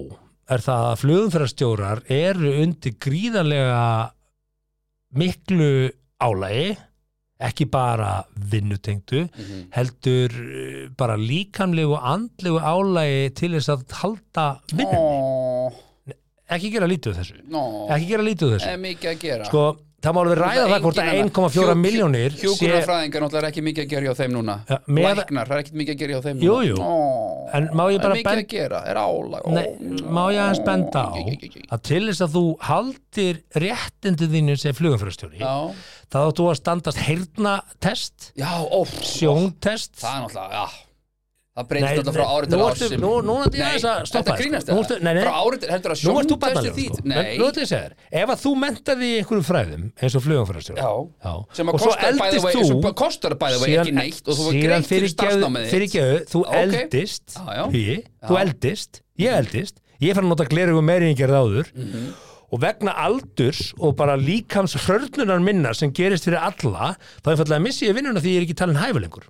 er það að flugumferðarstjórar eru undir gríðarlega miklu álægi ekki bara vinnutengdu heldur uh, bara líkamlegu og andlegu álægi til þess að halda vinnunni Ó, ekki gera lítið úr þessu nó, ekki gera lítið úr þessu er mikið að gera sko, það má alveg ræða það hvort að 1,4 miljónir sé Hjúkunarfræðingar náttúrulega er ekki mikið að gera hjá þeim núna Ja, með- Læknar, það er ekki mikið að gera hjá þeim Jú, núna jú. Ó, En má ég Það bara er mikið ben- að gera, er álag ó, Nei, má ég aðeins benda á að til þess að þú haldir réttindi þínu sem flugumfyrstjóri Já, þá áttu að standast heyrnatest, já, ó, sjóntest Það er náttúrulega, já Það breytist náttúrulega frá árið til nú árs ertu, sem- nú, nú ertu ég Nei, aðeins að stoppa Þetta þig, grínast sko. Nú það ertu- nei, nei, Frá árið til, heldur að Nú ert þú sjóntestið barnalegur, þitt sko. En Nú ertu ég að segja þér Ef að þú mentaði í einhverjum fræðum eins og flugumfyrstjóri Já. sem að og svo kostar bæði eldist vegi þú sem bara kostar bæði vegi ekki neitt og þú var síðan greitt fyrir starfsnámið þitt. fyrirgeðu, þú Já, ok. eldist Já, já. Hugi, þú eldist, ég eldist ég fann að nota glerugum meiri en ég gerði áður Mhm. og vegna aldurs og bara líkams hrörnunar minna sem gerist fyrir alla, þá einfallega missi ég vinnuna því ég er ekki talin hæfu lengur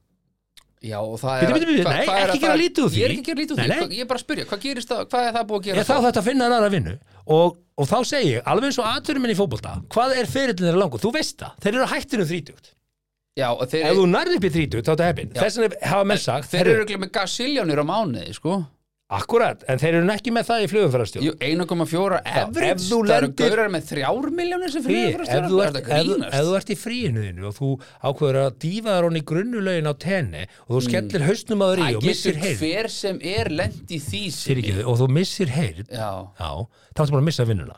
Já, og það Bíddu, er bíddu, bíddu, hvað- nei, hvað er ekki að gera það- lítið úr því. Ég er ekki að gera lítið úr Nei, því, nei. Hvað- ég er bara að spyrja, hvað gerist það, hvað er það búið að gera ég þá þetta að finna en aðra vinnu og, og þá segi ég, alveg eins og aðturum minn í fótbolta hvað er ferillin þeirra langur, þú veist það þeir eru hættinu þrítugt, Já, og þeir, ef þú nærði upp í þrítugt þá er þetta heppin, þess vegna hafa menn sagt Eh. þeir "Herru, eru ekki með gasiljónir á mánuði, sko Akkurat, en þeir eru nú ekki með það í flugumfærastjóð Jú, 1,4 average, ef þú það eru lendir- gaurar með 3 miljónir sem Því, fyrir ef þú, ert, ef, ef þú ert í fríinu þínu og þú ákveður að dýfa þar honni grunnulögin á tenni og þú skellir hausnum að þér í Það og missir Mm. getur heyrn hver sem er lent í því Sirrý. fyrirgefðu, og þú missir heyrn Já, Já, þá ertu bara að missa vinnuna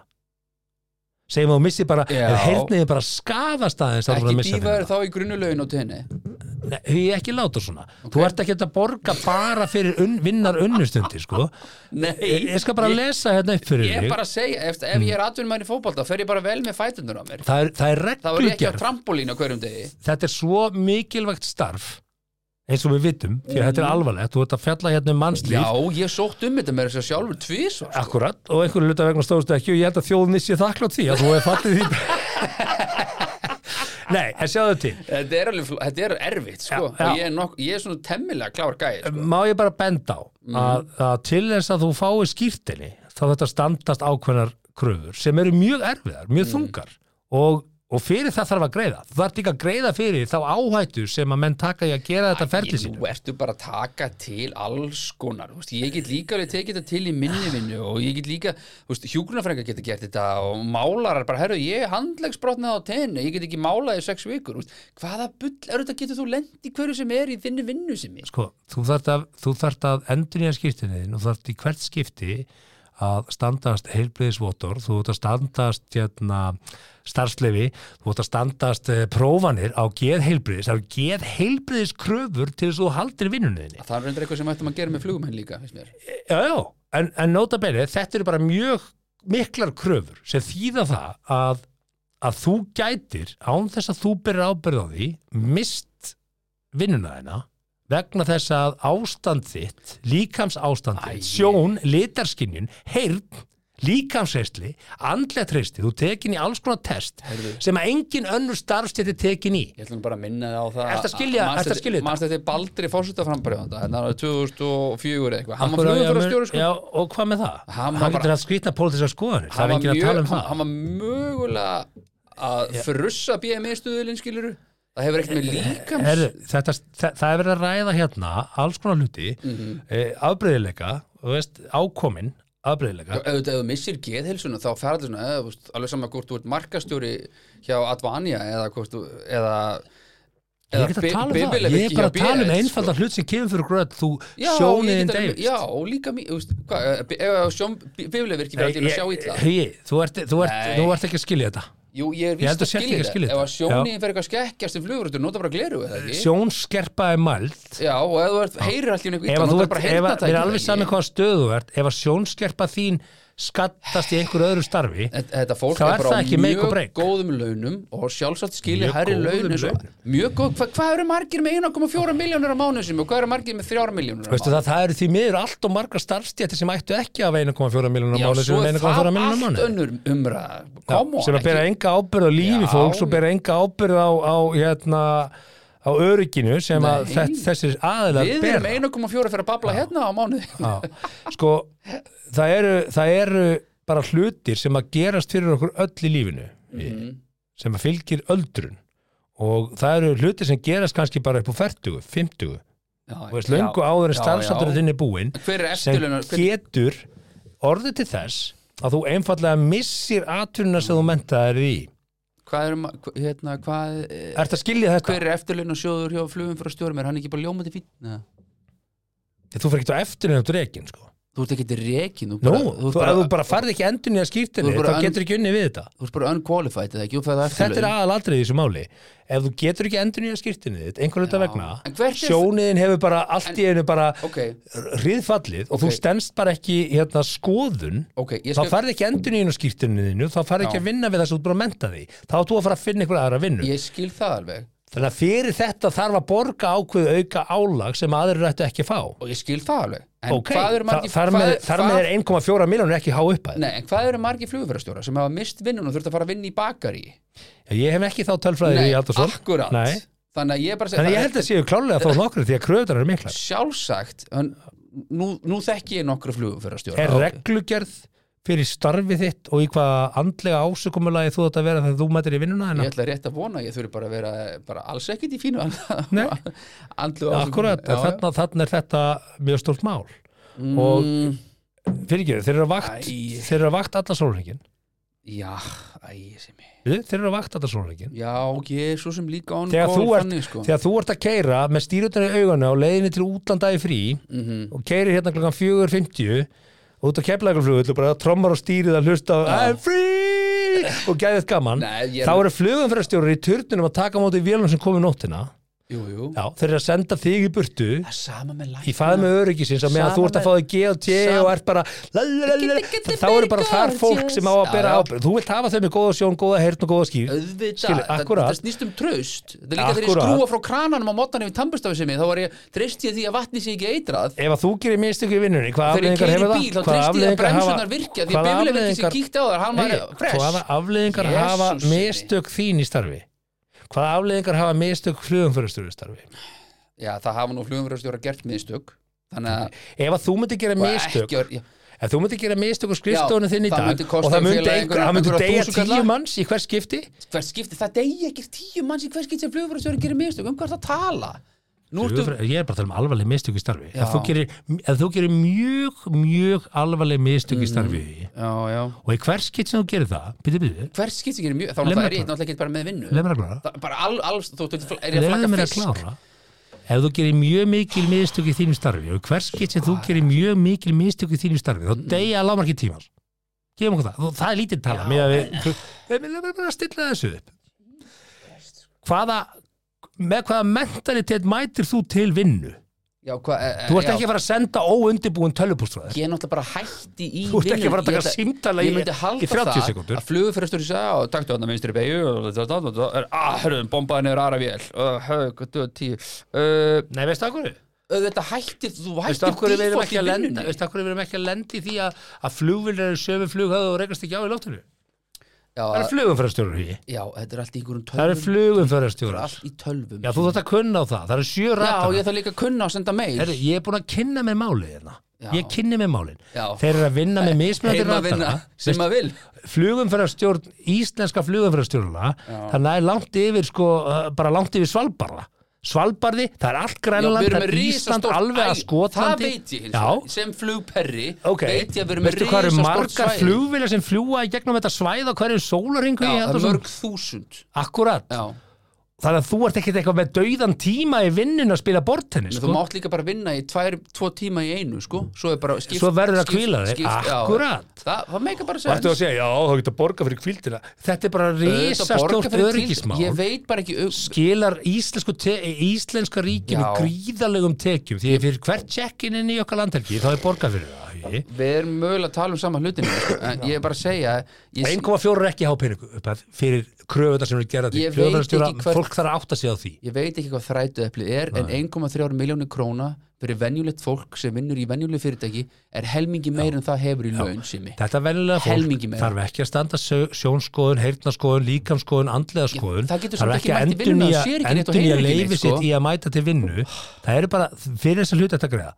segjum að þú missir bara Já. ef heyrnið er bara skafast aðeins þá ertu bara að ekki missa dýfaður vinnuna þá í grunnulögin á tenni Nei, því ekki láta svona þú ert ekki að borga bara fyrir un, vinnar unnustundi sko ég, ég skal bara ég- lesa hérna upp fyrir Ég er þig bara að segja, ef, ef ég er atvinnum í fótbolta fer ég bara vel með fætundur á mér það er, það er Þá er ég ekki á reglugerð trampolín á hverjum degi þetta er svo mikilvægt starf eins og við vitum, því að þetta er alvarlegt þú ert að fjalla hérna um mannslíf Mhm. Já, ég sótt um þetta með þess að segja sjálfur tvisvar Akkurat, og einhverju luta vegna stóðstu ekki og ég held að þjóðinni sé þakklátt því að þú hefði fallið því Nei, en sjáðu til Þetta er, alveg, fló- þetta er erfitt, sko Já, já. Og Ég, er nokk, ég er svona temmilega klár gæði sko. Má ég bara benda á Mhm. að, að til þess að þú fái skýrtinni þá þetta standast ákveðnar kröfur sem eru mjög erfiðar, mjög Mhm. þungar og, og fyrir það þarf að greiða þú þarf líka að greiða fyrir þá áhættu sem að menn taka í að gera þetta ferli Nú sínu ertu bara að taka til alls konar, þú veist, ég get líka alveg tekið þetta til í Ah. minni vinnu og ég get líka þú veist, hjúgrunafrænga geta gert þetta og málarar bara, herru, ég handlegsbrotnaði á tenni, ég get ekki málað í sex vikur þú veist, hvaða bull er þetta getur þú lent í hverju sem er í þinni vinnu sem ég sko, þú þarft að, þú þarft að endur nýja skiptinniðin og þarft í hvert skipti að standast heilbriðisvotor, þú ert að standast hérna, starfslefi, þú ert að standast eh, prófanir á geð heilbriðis, það eru geð heilbriðis kröfur til þess að þú haldir vinnunniðinni. það er reyndar eitthvað sem ættum að gera með flugumenn líka finnst mér. Já, já, en, en nota bene, þetta eru bara mjög miklar kröfur sem þýða það að, að þú gætir án þess að þú byrjar ábyrð á því, mist vinnuna þeina vegna þess að ástand þitt, líkams ástand Æi. þitt, sjón, litarskinjun, heyrn, líkamsreysli, andletreysti, þú tekin í alls konar test Heyrðu. sem að engin önnur starfstætti tekin í. ég ætlum bara að minna það á það Ertu að skilja- ertu að skilja þetta? mannst þetta er Baldri hérna, fórsetaframbarjóðanda þannig að 2004 eða eitthvað hann var Akkur á ég að flugumfæra mun- stjóri sko Já, og hvað með það? Hann Hann, var bara- getur að skrýtna pólitískar skoðanir, það hann er var, engin að mjög, tala um hann, það. hann var mögulega að frussa BMI stuðulinn skiluru það hefur ekkert Eh, með líkams Heru, þetta, það, það er verið að ræða hérna alls konar hluti mm Mhm. afbreyðileika, þú veist, ákomin afbreyðileika, auðvitað ef þú missir geðhilsuna þá ferður svona eða, þú veist, alveg saman hvort þú ert markastjóri hjá Advania eða hvort þú eða, ég er ekki að tala um það ég er bara að tala um einfalda hlut sem kemur fyrir gröð þú E sko. Já, ég sjóniðin get alveg- deil já, líka mér, þú veist, hvað, eh, ef- ef sjón, bifileverki verður að sjá illa þú ert, þú, ert, Nei. þú ert ekki að skilja þetta Jú, ég er Ég víst held að að sért skilja ekki að skilja þetta þetta. Ef að sjónin fer eitthvað skekkjast um flugurútur, nota bara gleru eða ekki sjónskerpa er mælt Já, og ef þú ert- heyrir allir ef einhver illa, að þú nota ert, bara ef að, heyrnartæki við eða erum alveg ekki? saman hvaða stöðu þú ert ef að sjónskerpa þín skattast í einhverju öðru starfi Þetta þetta fólk Þá er er bara það á ekki make or mjög break. góðum launum og sjálfsagt skilja Mjög herri góðum launum svo. launum. Mjög góð, hva, hvað eru margir með 1,4 miljónur á mánuð sem og hvað eru margir með 3 miljónur á Veistu mánuð? það, það eru því miður allt og margar starfstjættir sem ættu ekki af 1,4 miljónum Já, mánu sem svo er er 1,4 það miljónum allt mánu önnur umræða Come sem að on, bera ekki- enga ábyrð á lífi Já. fólks og bera enga ábyrð á, á hérna á örygginu sem að Nei. þess, þessir aðilar Við erum bera 1,4 fyrir að babla hérna á mánuði Já. sko það eru, það eru bara hlutir sem að gerast fyrir okkur öll í lífinu eh, Mhm. sem að fylgir öldrun og það eru hlutir sem gerast kannski bara upp á 40, 50 og veist löngu áður en starfsátturinn þinn er búinn Hver er sem eftirlunar hver- getur orðið til þess að þú einfallega missir atvinnuna sem þú mentaðir í Hvað er, hérna, hvað, eh, Ertu að skilja þetta? hver er eftirlaun og sjóður hjá flugum fyrir að stjórum er hann ekki bara ljómandi fín Nei. Þú fyrir ekkert á eftirinu eftir rekin sko. þú ert ekki til rekin þú, Nú, bara, þú, ef þú bara farði ekki endurinn í að skýrtinni Þú ert þá bara un- getur ekki unni við þetta þú ert bara unqualified eða ekki þú færð Þetta er eftirlaun. aðalatrið í þessu máli Ef þú getur ekki endurinn í að skýrtinni þitt einhvern Já. veginn En vegna hvert er- sjóniðin hefur bara allt í einu bara Ok. hriðfallið og þú Ok. stendst bara ekki hérna, skoðun Ok, ég þá skal- farði ekki endurinn í skýrtinni þínu þá farði ekki Já. að vinna við það sem þú ert búin að menta því þá áttu að fara að finna ykkur aðra vinnu Ég skil það alveg Þannig að fyrir þetta þarf að borga ákveð auka álag sem aðrir ættu ekki að fá. og ég skil það alveg en Ok, hvað eru margir, Þa- þar með, hvað- þar með er 1,4 miljónur ekki há upp að. Nei, en hvað eru margir flugverðarstjóra sem hafa mist vinnun og þurft að fara að vinna í bakari Ég hef ekki þá tölfræðir í Aldarsson. akkurat Nei. Þannig að ég bara segi Þannig að ég held að séu klálega þó nokkru því að kröðunar eru miklar. Sjálfsagt, en nú, nú þekki ég nokkru flugverðarstjóra Er reglugerð fyrir starfið þitt og í hvaða andlega ásökumulagi þú þetta vera þegar þú mætir í vinnuna Ég hennar? ætla rétt að vona að ég þurfi bara að vera bara alls ekkert í fínu Nei. Andlu Akkurat, já, já. þannig er þetta mjög stórt mál. Og- Mm, fyrirgjöðu, þeir eru að vakt Æ. þeir eru að vakt alla sólhringin já, æ, sem ég þeir eru að vakt alla sólhringin já, ég er svo sem líka án Þegar þú ert- þannig, sko. þegar þú ert að keira með stýrutinu í auganu á leiðinni til útlanda í frí mm og keirir hérna klokkan 4.50 og út á keflækarflugull og bara trommar og stýrið að hlusta á I'm free og gæðið gaman Nei, ég er- þá eru flugumferðarstjórar í turnunum að taka á móti vélum sem komi nóttina jú, jú Já, þeir eru að senda þig í burtu það er sama með í faðum með öryggisins á meðan Sama þú ert að fá þig G og T Sama- og ert bara lalalala, þá eru bara þar fólk sem á að Já, bera já. ábyrgð þú vilt hafa þau með góða sjón, góða heyrn og góða skýr auðvitað, Skilur, Skil, akkúrat. það snýst um traust það er líka þegar ég Akkúrat. skrúa frá krananum á móttan yfir tannbustafi sem ég, þá var ég treyst ég því að vatni sé ekki eitrað ef að þú gerir mistöku í vinnunni hvað þegar ég afleðingar keiri hefur bíl, þá það? Hvaða treyst ég afleiðingar hafa- hvaða afleiðingar- Nei, hvaða að bremsunar virkja því að bifilegverki sem kíkti á þar, hann var fresh afleðingar Jesús hafa sinni. mistök þín í starfi? Hvaða afleðingar hafa mistök flugumförustur í starfi? já, það hafa nú flugumverðarstjóra gert mistök þannig að Ef að þú myndir gera og mistök ekki- já, ef þú myndir gera mistök á skrifstofunum Já, þinn í það dag myndi og kosta það myndi, félagið einhver, einhverja- það myndi einhverja deyja þúsundkalla. tíu manns í hvers skipti hvert skipti, það degi ekki tíu manns í hvert skipti sem flugumverðarstjóra gerir mistök um hvað það tala nú ertu Flugumferð- Ég er bara að tala um alvarleg mistök í starfi Já. ef þú, gerir, ef þú gerir mjög, mjög alvarleg mistök í Mm. starfi já, já og í hvers skipt sem þú gerir það byrju, byrju, hvert skipti gerir mjög, þá Leyfðu náttúrulega mér að er ég klára. náttúrulega ekki bara með vinnu leið mér að glára Það- bara all- alls, þú þú- þú- er ég að leið mér að flagga fisk klára ef þú gerir mjög mikil mistök í þínu starfi og í hvers skipt sem þú Ah. gerir mjög mikil mistök í þínu starfi, þá deyja lámarki tímans gefum okkur það, Þú- það er lítið tala með að við, við, við, við, við að stilla þessu upp hvaða með hvaða mentalitet mætir þú til vinnu? já, hva, e, e, Þú ert já. ekki að fara að senda óundibúin tölvupústræðir ég er náttúrulega bara hætti í Þú ert ekki vinnunni. að fara að taka Ég ætla- símtala í- ég myndi í halda 30 það sekúndur. að flugufyrirstjóri sagði og taktu hann að vinstri beigju og það er að hörðum bombaði niður aðra vél og hög og döð tíu Uh, Nei, veistu af hverju? auðvitað hættir þú Veistu af hættir hverju við erum default ekki í að lenda vinnunni Veistu af hverju við erum ekki að lenda í því að, að flugvilir eru sömu flughöðu og reikast ekki á í lóttinu Það já, eru flugumfærastjórar í já, þetta er allt í einhverjum Það eru tölvum flugumfærastjórar allt í tölvum Já, þú þarft að kunna á það, það eru sjö Já, rættar ég þarf líka að kunna að senda mail Herru, ég er búin að kynna með málið hérna Já. Ég kynni með málin Já. Þeir eru að vinna með mismunandi heima að vinna rættara sem maður vil Flugumfærastjórn, íslenska flugumfærastjórna Það næði langt yfir sko, uh, bara langt yfir Svalbarða Svalbarði, það er allt Já, grænland, við erum það er með Ísland risastórt- alveg að Æ, skotlandi Það veit ég hins Já, vegar, sem flugperri Ok, veit ég að við erum með veistu hvað eru risastórt margar svæði. flugvila sem fljúa í gegnum þetta svæð á hverju sólaringu Já, í það er Henderson? mörg þúsund Akkurat, Já, þannig að þú ert ekkert eitthvað með dauðan tíma í vinnun að spila bortennis sko? þú sko. mátt líka bara vinna í tvær, tvo tíma í einu, sko Svo, er bara skipt, Mm. Svo verður að skipt- hvíla þig. skipt- já. Akkúrat. Það, það meika bara Og ertu sens að segja, já, þá getur borga fyrir kvildina Þetta er bara Auðvitað borga risastórt fyrir hvíld. öryggismál Ég veit bara ekki um- skilar íslensku te íslenska ríkinu Já. gríðalegum tekjum því að fyrir hvert check-in inn í okkar landhelgi þá er borga fyrir það Æi. Við erum mögulega að tala um sama hlutinu sko. En ég er bara að segja ég, 1,4 er ekki hápenningu upphæð fyrir kröfuna sem eru gerða til Ég veit flugumferðarstjóra, ekki hvert- fólk þarf að átta sig á því ég veit ekki hvað þrætu eplið er En 1,3 miljónu króna fyrir venjulegt fólk sem vinnur í venjulegu fyrirtæki er helmingi meir en það hefur í laun sími Þetta venjulega fólk Helmingi meira. þarf ekki að standa sjó- sjónskoðun, heyrnaskoðun, líkamskoðun, andlega skoðun. það getur þarf samt ekki ekki að mætt í vinnuna, endurnýja sér ekki neitt og endurnýja heyrir ekki leifi neitt, sitt sko. Oh. í að mæta til vinnu. Það eru bara fyrir þess að hluta þetta greiða.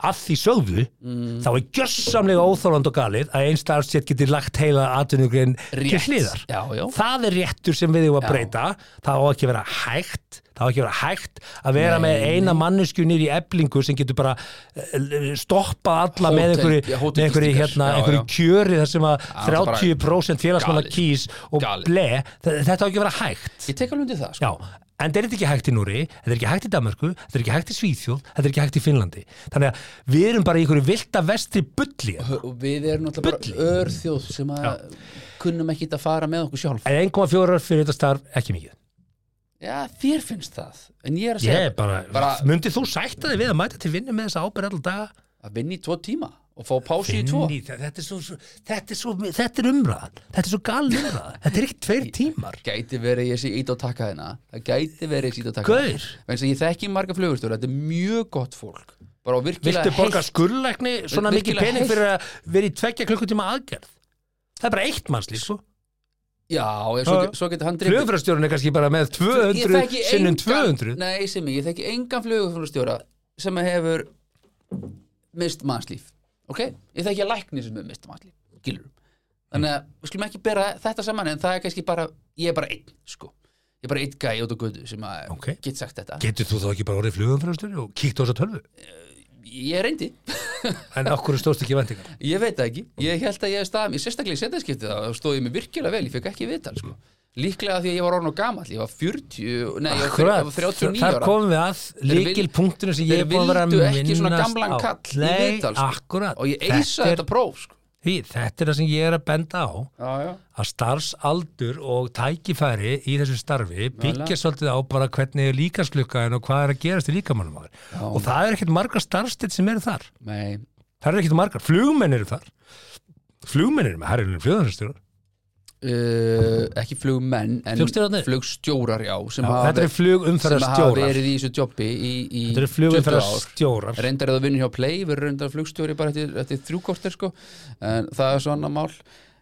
Að því sögðu, Mm. þá er gjössamlega óþóland og galið að einn starfstjétt getur lagt heila atvinnugrein til Rétt. hliðar. Já, já. Það er réttur sem við eigum að Já. breyta. Það á ekki að vera hægt það á ekki að vera hægt að vera með eina manneskju nýri eblingu sem getur bara eh, stoppað alla með Hótel- einhverju, já, með einhverju, hótelgistingar. hérna, Já, einhverju já. kjöri þar sem að það er bara 30% félagsmanna galið. kýs og Galið. ble, þ- þetta á ekki að vera hægt Ég tek alveg undir það sko. já, en þetta er ekki hægt í Núri þetta er ekki hægt í Danmarku, þetta er ekki hægt í Svíþjóð þetta er ekki hægt í Finnlandi þannig að við erum bara í einhverju vilda vestri bulli hérna. og við erum náttúrulega bara örþjóð sem að kunnum ekki að fara með okkur sjálf en 1,4 fyrir þetta starf ekki mikið já, þér finnst það en ég er að segja ég er bara, bara Bara- myndið þú sætta þig við að mæta til vinnu með þessa ábyrð alltaf daga að vinna í tvo tíma og fá pási í tvo Inn í- þetta er svo, svo, þetta er svo þetta er umræðan, þetta er svo gal umræðan þetta er ekki tveir tímar gæti verið ég sé ít á taka þeina það gæti verið ég sé ít á taka Gaur. vegna sem ég þekki marga flugurstjóra þetta er mjög gott fólk bara á virkilega Viltu borga skurrlækni svona mikið Virkilega pening heilt. fyrir að vera í tveggja klukkutíma aðgerð? Það er bara eitt mannslíf sko. já, ég, svo, Já, já. svo getur hann drifið. Flugumfærastjórun er kannski bara með Ég 200 þekki sinnum engan- 200 nei, sem ég, ég þekki engan flugurstjóra sem að hefur mist mannslíf ok, ég þekki að lækni sem hefur mist mannslíf gilur þannig að við skulum ekki bera þetta saman en það er kannski bara, ég er bara einn sko. ég er bara einn gæi út á götu sem að Ok. get sagt þetta Getur þú þá ekki bara orðið flugumfærastjóri og kíkt á þessa tölvu? ég reyndi en okkur stóðst ekki vendingar Ég veit það ekki, ég held að ég hef staðið mér sérstaklega í setjaskiptið þá stóð ég mér virkilega vel, ég fekk ekki viðtal sko. líklega því að ég var orðin og gamall ég var 40, nei ég var, fyr, ég var 39 þar ára komum við að vil- líkilpunktinu sem ég þeir er búin að vera að vildu minnast ekki svona gamlan á. kall í Nei, viðtal, sko. akkurat og ég þetta, eisaði er, þetta próf sko. því, þetta er það sem ég er að benda á já, já. að starfsaldur og tækifæri í þessu starfi byggja svolítið á bara hvernig er líkansklukkaðin og hvað er að gerast í líkamannum áður og það er ekkert margar starfstitt sem eru þar Nei, það eru ekkert margar, flugmenn eru þar flugmenn eru með herrinum flugðansastjórar uh, ekki flugmenn en Flugstjórarnir? flugstjórar já, sem hafa, þetta eru sem hafa flugumferðarstjórar verið í þessu jobbi í, í þetta eru 20 ár flugumferðarstjórar reyndar eða vinnur hjá Play verður reyndar flugstjóri bara eftir, eftir þrjúkortir sko en það er svo annar mál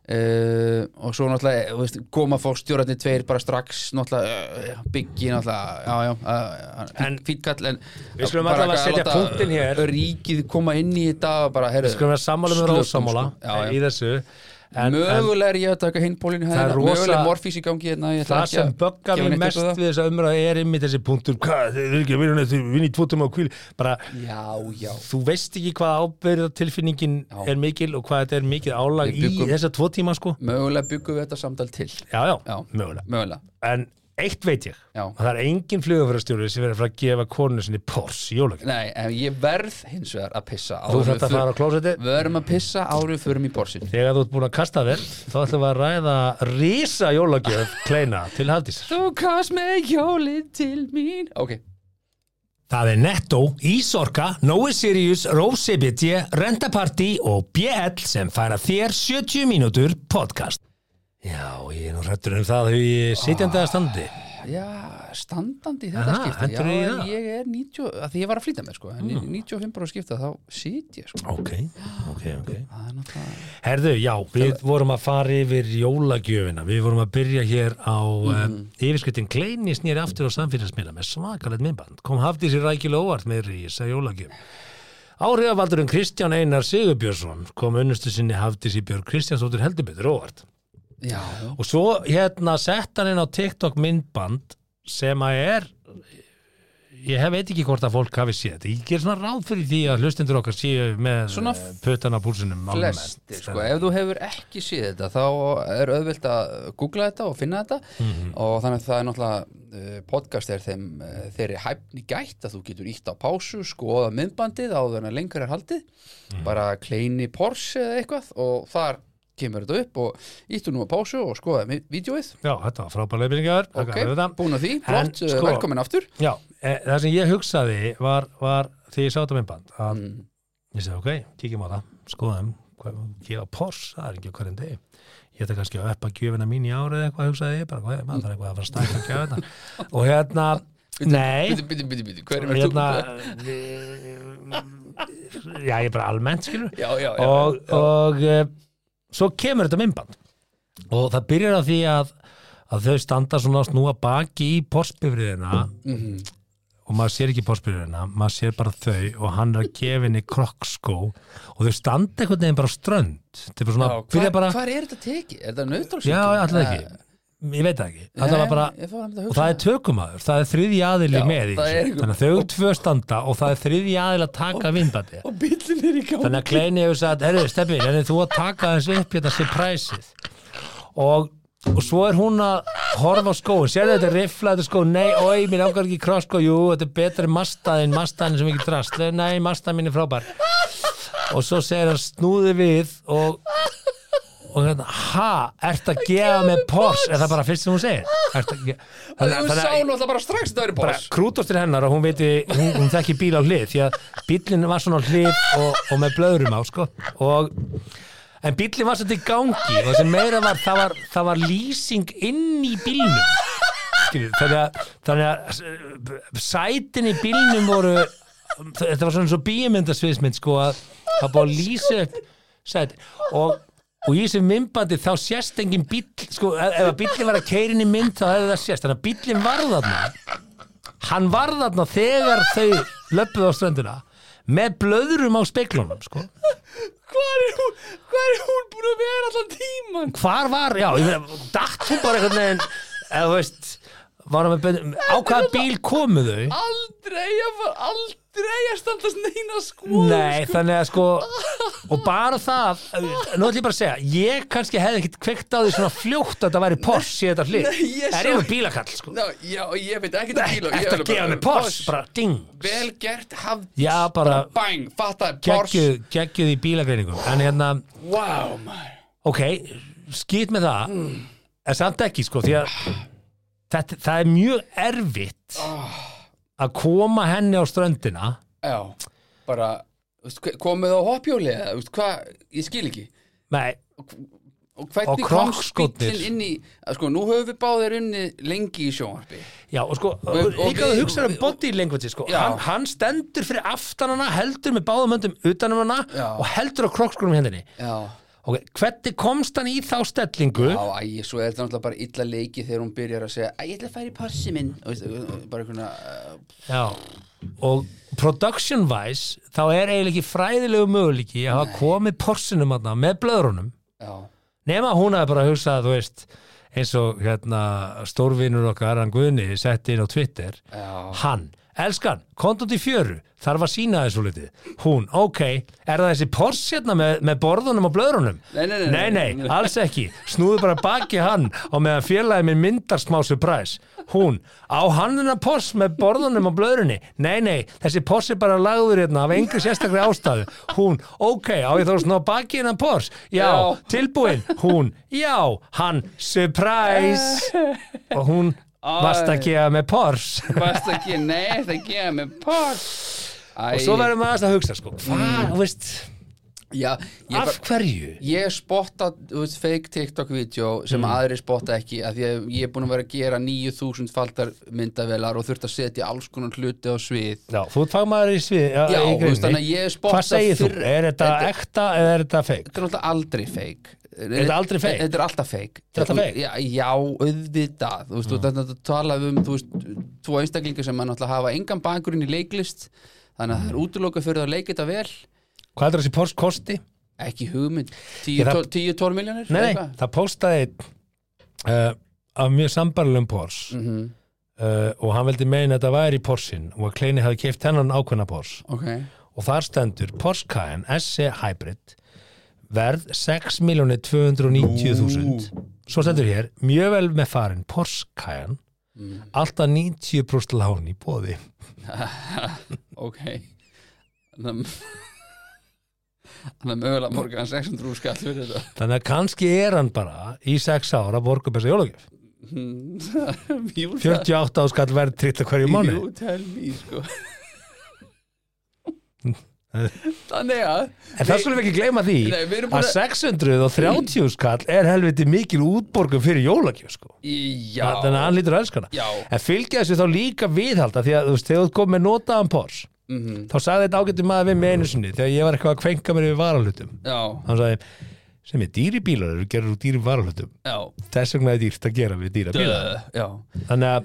uh, og svo náttúrulega þú veist, koma fólk stjórarnir tveir bara strax náttúrulega uh, byggi náttúrulega já, já, uh, En- fýtt, fýtkall en Við skulum bara allavega að setja láta punktinn hér. ríkið koma inn í þetta og bara herru Við skulum vera sammála með slökum, ráðsammála sko. Já, já. í þessu en, en mögulega er ég að taka hinn pólinn í Það er hæðina, rosa- mögulega morfís í gangi hérna, ég ætla það ekki sem að böggar gefa mér neitt upp mest á það. við þessa umræðu er einmitt þessi punktur hvað, þeir eru ekki að vinna neitt, þeir vinna í tvo tíma á kvíl bara, já, já þú veist ekki hvað ábyrðatilfinningin Já. er mikil og hvað þetta er mikil álag Við í byggum- þessa tvo tíma sko mögulega byggum við þetta samtal til já, já, Já. mögulega mögulega, en eitt veit ég, Já. og það er engin flugafærastjóri sem verður að fara að gefa konu sinni pors í jólagjöf, nei, en ég verð hins vegar að pissa þú áður en þarft við að fara á klósetti Við erum að pissa árið fyrir mig í borsin þegar þú ert búin að kasta þér þá ætlum við að ræða rísa jólagjöf kleina til hafdís Þú kast með jólið til mín Ok, Það er Netto, Ísorka, Nói Sirius, Rósebiti, Rentaparty og BL sem færa þér 70 mínútur podcast. Já, ég er nú hrættur um það þegar ég sitjandi að standi. já, standandi í þetta Aha, skipta Já, hendur í en það. Hmm. ég er 90, að því ég var að flýta með sko En 95 bara skipta, þá sit ég sko Ok, ok, ok. Það er náttúrulega Herðu, já, við vorum að fara yfir jólagjöfina. Við vorum að byrja hér á mm. Mhm. yfirskyttin Kleini snýri aftur á samfélagsmiðla með svakalegt minnband. Kom hafði sér rækilega óvart með rísa jólagjöf. Áhrifavaldurinn Kristján Einar Sigurbjörnsson kom unnustu sinni hafði sér Björg Kristjánsdóttir heldurbyttur óvart. Já, og svo hérna sett hann inn á TikTok myndband sem að er ég hef veit ekki hvort að fólk hafi séð þetta ég ger svona ráð fyrir því að hlustendur okkar séu með Svona eh, puttana á púlsunum almennt. flestir sko Ef þú hefur ekki séð þetta, þá er auðvelt að googla þetta og finna þetta Mhm. Og þannig að það er náttúrulega eh, podcast er þeim eh, þeirri hæfni gætt að þú getur ítt á pásu, skoða myndbandið áður en að lengur er haldið Mhm. bara kleini Porsche eða eitthvað og þar kemur þetta upp og íttu nú að pásu og skoða mi- vídjóið já, þetta var frábælega byrningar ok, búin að því, En, flott, sko, sko- velkomin aftur já, e, það sem ég hugsaði var, var því ég sá þetta myndband að ég segi ok, kíkjum á það skoðum, hvað, gefa pors það er ekki á hverjum degi ég ætla kannski að uppa gjöfina mín í árið eitthvað hugsaði ég bara, hvað, maður þarf eitthvað að fara að stækka um gjöfina og hérna, nei bíti, bíti, bíti, bíti, hver er mér hérna, þú? eh, já ég er bara almennt skilur Já, já, já, og, já, og uh, svo kemur þetta myndband og það byrjar á því að, að þau standa svona að snúa baki í postbifriðina Mhm. og maður sér ekki postbifriðina maður sér bara þau og hann er að gefa henni krokkskó og þau standa einhvern veginn bara á strönd þau bara svona, já, byrja hvar, bara hvar er þetta tekið? Er þetta nöðdálsvík? já, alltaf ekki, ég veit það ekki alltaf bara og það er tökumæður, það er þriðji aðili Já, með í það er þessu, einhver- þannig að þau tvö standa og það er þriðji aðili að taka vinnbandi og bíllinn er í gangi þannig að Kleini hefur sagt, herru, steppi, herru, þú að taka þessu upp hérna surpriseið og, og svo er hún að horfa á skóin, sérðu þetta rifla þetta skó, nei, oi, mér ákvæður ekki krosskó jú, þetta er betri mastaðin, mastaðin sem ekki drast, nei, mastaðin mín er frábær og svo segir hann snúði við og og hérna, ha, ert að gefa með pors, er það bara fyrst sem hún segir Ertu að ge- Þannig að þú sá náttúrulega bara strax þetta er bara bors krútostir hennar og hún veiti hún, hún þekki bíl á hlið því að bílinn var svona á hlið og, og með blöðrum á sko og en bílinn var svolítið í gangi og sem meira var það var, það var lýsing inn í bílnum Skilur, þannig að, þannig að s- sætin í bílnum voru þetta var svona svo bíumyndasviðsmynd sko að það búið að lýsa upp sætin og Og í þessu myndbandi þá sést engin bíll, sko, ef ef að bíllinn var að keyra inn í mynd þá hefði það sést, þannig að bíllinn var þarna hann var þarna þegar þau löppuð á ströndina með blöðrum á speiklunum sko. Hvað er hún- hvað er hún búin að vera allan tíman? hvar var, já, ég meina dætt hún bara einhvern veginn eða þú veist, var hann með beinu, á hvaða bíl komu þau Aldrei, ég var aldrei dreyja standast neina skoðun Nei, þannig að sko og bara það, nú ætlum ég bara að segja ég kannski hefði ekkit kveikt á því svona fljótt að þetta væri Porsche í þetta hlið Nei, ég það er sá- yfir bílakall sko Ná, já, ég veit ekki það bíl og eftir að gefa mig Porsche, bara ding Vel gert, haf, já, bara bang, fattaði, Porsche geggjuð geggjuð í bílagreiningum en hérna, Wow, maður ok, skýt með það en samt ekki sko því að þetta, það er mjög erfitt að koma henni á ströndina Já, bara, þú veist, hve- komið á hoppjóli eða, þú veist, hvað, ég skil ekki nei, Og hvernig Og kom krokkskórnir. spillin inn í að, Sko, nú höfum við báðir unni lengi í sjónvarpi Já, og sko, og líka við- þú hugsaður um body language, sko, Já. hann, hann stendur fyrir aftan hana, heldur með báðum höndum utanum hana Já. og heldur á krokkskórum hendinni. Já Ok, hvernig komst hann í þá stellingu? Já, æ, svo er þetta náttúrulega bara illa leiki þegar hún byrjar að segja Æ, ég ætla að fara í passi minn og, veist, Bara einhverna uh, Já. Og production wise, þá er eiginlega ekki fræðilegu möguleiki að hafa komið porsinum hana með blöðrunum. Já, Nema hún hafi bara hugsað, þú veist, eins og hérna stórvinur okkar, hann Guðni, setti inn á Twitter. já, hann, elskan, kontum til fjöru þarf að sína þessu litið hún, ok, er það þessi Porsche hérna með, með borðunum og blöðrunum Nei, nei, nei, nei, nei, nei. alls ekki snúðu bara baki hann og meðan félagið minn myndar smá surprise hún, á hann hennar Porsche með borðunum og blöðrunni, nei, nei þessi Porsche er bara lagður hérna af engu sérstakri ástæðu, hún, ok á ég þá að snúa baki hennar Porsche já, Já. tilbúin, hún, já hann, surprise og hún, vast að gefa með Porsche Basta ekki, nei, það gefa mig pass Æ, og svo verðum við aðeins að hugsa sko hvað, þú veist, Já, ég bara- af hverju ég spotta þú veist, fake TikTok-vídeó sem aðri spotta ekki af því að ég er búin að vera að gera 9000 faltar myndavelar og þurft að setja alls konar hluti á svið já, þú ert fagmaður í svið Já, í þú veist, þannig að grinni, ég er spotta hvað segir þú, fyrr- er þetta ekta eða er þetta feik Þetta er alltaf aldrei feik Er þetta aldrei fake? Þetta er alltaf feik Þetta er alltaf fake? Já, já auðvitað Þú veist, mm. þetta tala um þú veist, tvo einstaklingar sem mann alltaf hafa engan bakgrunn í leiklist þannig að það Mm. er útloka fyrir það að leika þetta vel hvað er þessi Porsche kosti? ekki hugmynd Ég, það- 10-12 miljónir Nei, nei, það postaði einn, uh, af mjög sambarlegum Porsche Mhm. uh, og hann veldi meina að þetta væri Porschein og að Kleini hafi keift hennan ákveðna Porsche Ok, og þar stendur Porsche Cayenne SE Hybrid verð 6.290.000 svo stendur hér mjög vel með farin Porsche Cayenne Mhm. alltaf 90% lán í bóði ok Þannig að Þannig að mögulega morgan 600 úr skall fyrir þetta þannig að kannski er hann bara í 6 ára borgum þessa jólagjöf Jú, það- 48 áskall verð tritt að hverju mánu Jú, tell me, sko Þannig að en það skulum við ekki gleyma því Nei, við erum búin að að- 630 skall er helviti mikil útborgum fyrir jólagjöf sko. Já þannig að hann lítur að elskana Já. en fylgja þessu þá líka viðhalda því að þú veist, þegar þú kom með notaðan pors Mhm. þá sagði þetta ágættum maður við með einu sinni þegar ég var eitthvað að kvenka mér yfir varalutum Já, hann sagði, sem er dýri bílar eru gerður úr dýri varalutum já þess vegna er dýrt að gera við dýra bílar Dö, Já, þannig að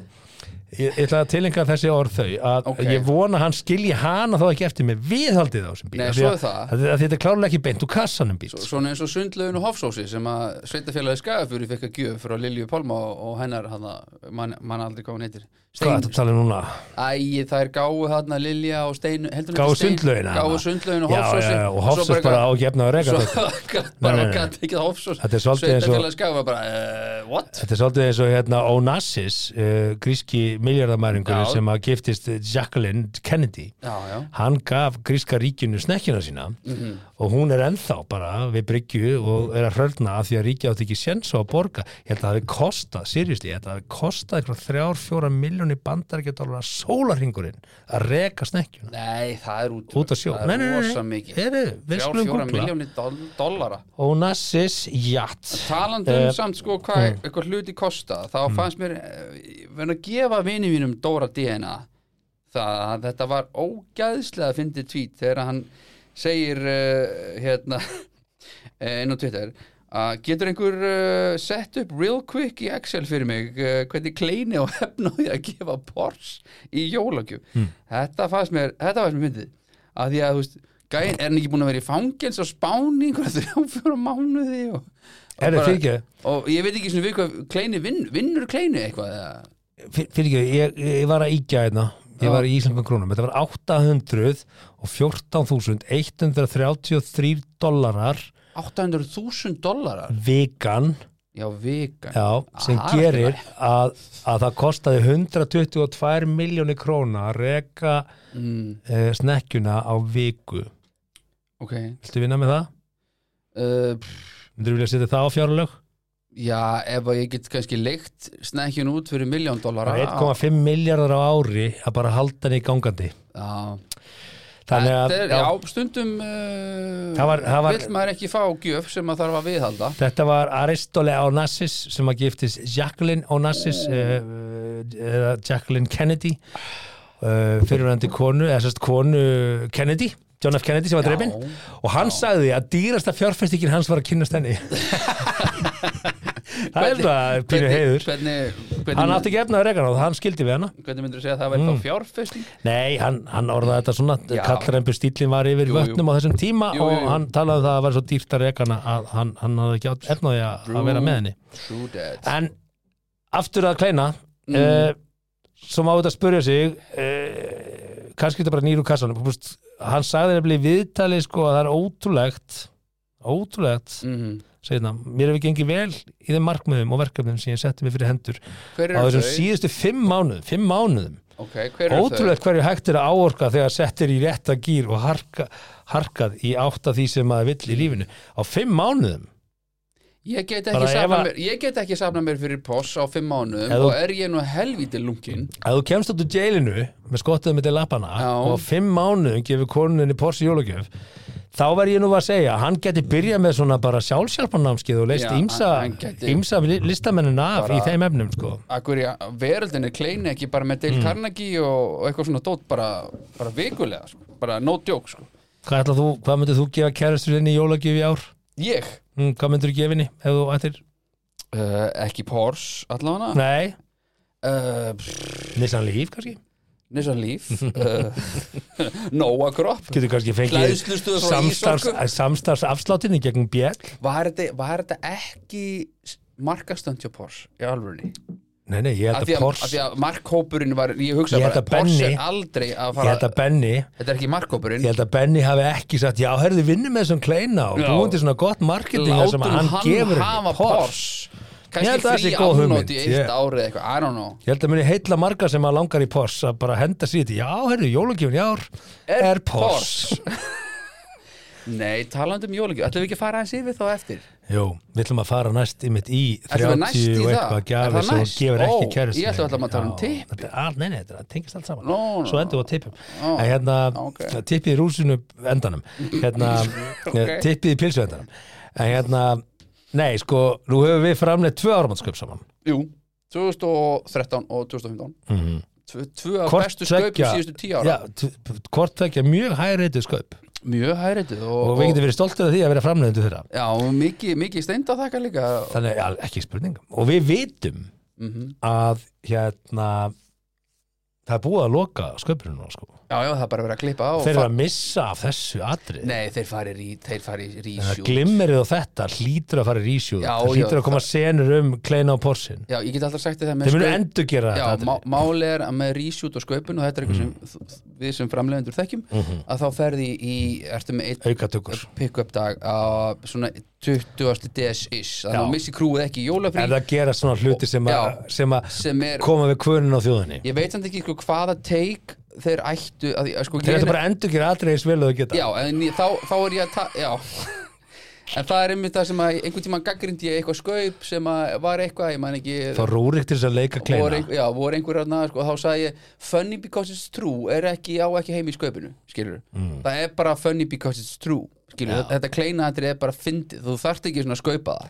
ég, ég ætla að tilenga þessi orð þau að Ok. ég vona að hann skilji hana þá ekki eftir með viðhaldið á þessum bíl Nei, af því svo að- er það. af því að þetta er klárlega ekki beint úr kassanum bíl svona eins og sundlaun og hofsósi sem að sveitafélagi skagafjúri fekk að gjöf frá Lilju Pálma og, og hennar hana, man, man aldrei hvað hún heitir hvað þetta tala um núna Æ, það er gáu þarna Lilja og Steinu heldur hún gáðu heitir Stein- sundlaugina Gáu sundlaun og Já, hofsósi já, já, og hofsós bara á ekki efna að reka þetta Svo gat- bara Nei, nei, nei. gæti ekki það hofsós Þetta er svolítið eins og- Sveitafélagi skagafa bara, uh, what? Þetta er svolítið eins og hérna Onassis, uh, gríski miljardamæringur Já. sem að giftist Jacqueline Kennedy. Já, já, Hann gaf gríska ríkinu snekkjuna sína Mhm. og hún er ennþá bara við bryggju og er að hrörna af því að ríkja átti ekki séns á að borga. Ég held að það hafi kostað, seriously, ég held að það hafi kostað eitthvað þrjár, fjóra miljóni bandarækjadólar að sólarringurinn að reka snekkjuna nei, það er út út á sjó. Það Nei, nei, er nei, rosa nei, mikið heyrðu, við Þrjár, skulum fjóra googla. miljónir doll- dollara Onassis Jatt. talandi um samt sko hvað eitthvað hluti kosta þá fannst mér verður að gefa vini mínum Dóra DNA það að þetta var ógæðslega að fyndi tvít þegar hann segir uh, hérna eh, inn á Twitter að getur einhver uh, sett upp real quick í Excel fyrir mig uh, hvernig kleini og hefnáði að gefa Porsche í jólagjöf þetta fannst mér, þetta fannst mér myndið að því að þú veist Gæin, er hann ekki búin að vera í fangins og spáni einhverja þrjá fjóra mánuði og, og, Er það bara- fyrir og ég veit ekki svona við hvað kleini vinn, vinnur kleini eitthvað eða Fyr- fyrir ekki, ég, ég var að íkja hérna ég var í íslenskum krónum, þetta var 814.133 dollarar 800.000 dólarar vikan já, vika já, sem Ah, gerir að, að það kostaði 122 miljónir króna að reka mm, eh, snekkjuna á viku ok Viltu vinna með það? uh, pff, Myndur vilja setja það á fjárlög? já, ef að ég get kannski leikt snekkjun út fyrir miljón dólarar Það er 1,5 miljardar á ári að bara halda henni í gangandi já, Þannig að Þetta er, já, já, stundum uh, Það var- það var- vill maður ekki fá gjöf sem maður þarf að viðhalda þetta var Aristole Onassis sem að giftist Jacqueline Onassis eh, eða Jacqueline Kennedy uh, fyrirvændi konu eða sérst konu Kennedy John F. Kennedy sem var Já. dreipin og hann sagði að dýrasta fjárfestikinn hans var að kynnast henni það er Hvernig- það pínu heiður hvernig, hvernig, hann átti hvernig, ekki Mm. efnaður regan á það, hann skildi við hana hvernig myndir þú segja að það væri þá fjárfesting Nei, hann, hann orðaði þetta svona Já. kallrempu stílinn var yfir Jú, jú. vötnum á þessum tíma Jú, jú, jú. og hann talaði um það að það var svo dýrt að rekana að hann, hann hafði ekki átt efnaði að, að vera með henni true debt En aftur að kleina mm. svo má þetta spurja sig uh, kannski þetta bara nýr úr kassanum Þú veist, hann sagði nefnilega í viðtali sko að það er ótrúlegt ótrúlegt, mm segir það mér hefur gengið vel í þeim markmiðum og verkefnum sem ég setti mig fyrir hendur hver á eru þessum þau? síðustu fimm mánuðum fimm mánuðum ok, hver eru þau? Ótrúlegt hverju hægt er að áorka þegar sett er í rétta gýr og harka, harkað í átt að því sem maður vill í lífinu á fimm mánuðum Ég get, Bara ekki ef safna að- mér, ég get ekki safna mér fyrir poss á fimm mánuðum Ef þú- og er ég nú helvítið lungin að þú kemst út úr jailinu með skottuðum til lappana Já. og á fimm mánuðum gefur konunni Porsche jólagjöf þá verð ég nú að segja að hann geti byrjað með svona bara sjálfsjálfarnámskið og leist Já, ímsa, hann- hann gæti- ímsa li- listamennina af í þeim efnum sko. Akkur í veröldinni kleini ekki bara með Mm. Dale Carnegie og, og eitthvað svona dót bara, bara vikulega, sko. bara no joke sko. hvað, ætlar þú, hvað myndir þú gefa kæristurinn í jólagjöf í ár? Ég, Mm, hvað myndir þú gefa henni ef þú ættir? uh, ekki Porsche allavega Nei, uh, Nissan Leaf kannski Nissan Leaf uh, Nóa Kropp getur kannski fengið Hleðslustöð frá samstarfs, eh, Ísorku. samstarfsafsláttinni gegn bjell Var þetta, var þetta ekki markastönd hjá Porsche í alvörunni? nei, nei, ég Af held því að að, að, Porsche því að markhópurinn var, ég hugsa Ég held bara að Porsche Benny- er aldrei að ég fara held að Benny Þetta er ekki markhópurinn Ég held að Benny hafi ekki sagt, já, herðu vinnum með þessum kleina og Já. búin til svona gott marketing þar sem að hann, gefur hafa henni Porsche. Porsche Ég held að það sé kannski frí góð hugmynd, afnót í eitt ég- árið eitthvað, I don't know Ég held að muni heilla marga sem að langar í Porsche að bara henda sér í þetta, já, herðu, jólugjöfun, já, er, er Porsche. Nei, talandi um jólagjöf, ætlum við ekki að fara aðeins yfir þá eftir Jú, við ætlum að fara næst ymitt í Ætlum 30 við næst í og það? eitthvað Er gjafir það sem næst? þú gefur ekki Ó, kæri ég ætla að tala um tipp. Nei, nei, þetta tengist allt saman. Nó, nó, Svo endur við á tippum. Ó, en hérna, ok. tippið í rúsinu endanum. Hérna, okay. tippið í pilsu endanum. En hérna, nei, sko, nú höfum við framlega tvö áramannskaup saman. Jú, 2013 og 2015 Tvö- Tvö af Mhm. Hvort bestu sköpum tveggja- síðustu tíu ára Já, t- p- hvort tvekja mjög hægreitið sköp Mjög hærið og, og við getum verið stoltið af því að vera framleiðendur þeirra Já, og mikið, mikið steind að þakka líka þannig ja, ekki spurning og við vitum Mhm. að hérna það er búið að loka sköpunum sko. Já, já, það er bara verið að klippa á og þeir eru fa- að missa af þessu atrið Nei, þeir fari í, þeir fari í Það rísjú glimmerið á þetta hlýtur að fara í rísjúð Já, það já, hlýtur að koma senur um kleina á porsin Já, ég get alltaf sagt þetta með þeir munu skau- endur gera Já, þetta má, atriði. Mhm. máli er að með reshoot og sköpun og þetta er eitthvað sem þ- við sem framleiðendur þekkjum að þá ferði í, ertu með einn aukatökur pick-up dag á svona 20. DS-ish þannig Já. að missi krúið ekki í en jólafrí það gera svona hluti sem Já. að sem að sem er, koma við kvönin á þjóðinni ég veit samt ekki sko, hvaða take þeir ættu að, að sko, þeir ég ættu er- bara að endur gera atrið eins vel og þau geta Já, en ég, þá, þá er ég að ta- Já En það er einmitt það sem að einhvern tímann gaggrindi ég eitthvað skaup sem að var eitthvað, ég man ekki þá rúrik til þess að leika kleina voru, ein- já, voru einhver hérna sko, þá sagði ég funny because it's true er ekki á ekki heim í sköpunu skilur Mm. það er bara funny because it's true skilur þetta, þetta kleinaðri er bara fyndið þú þarft ekki svona að skaupa það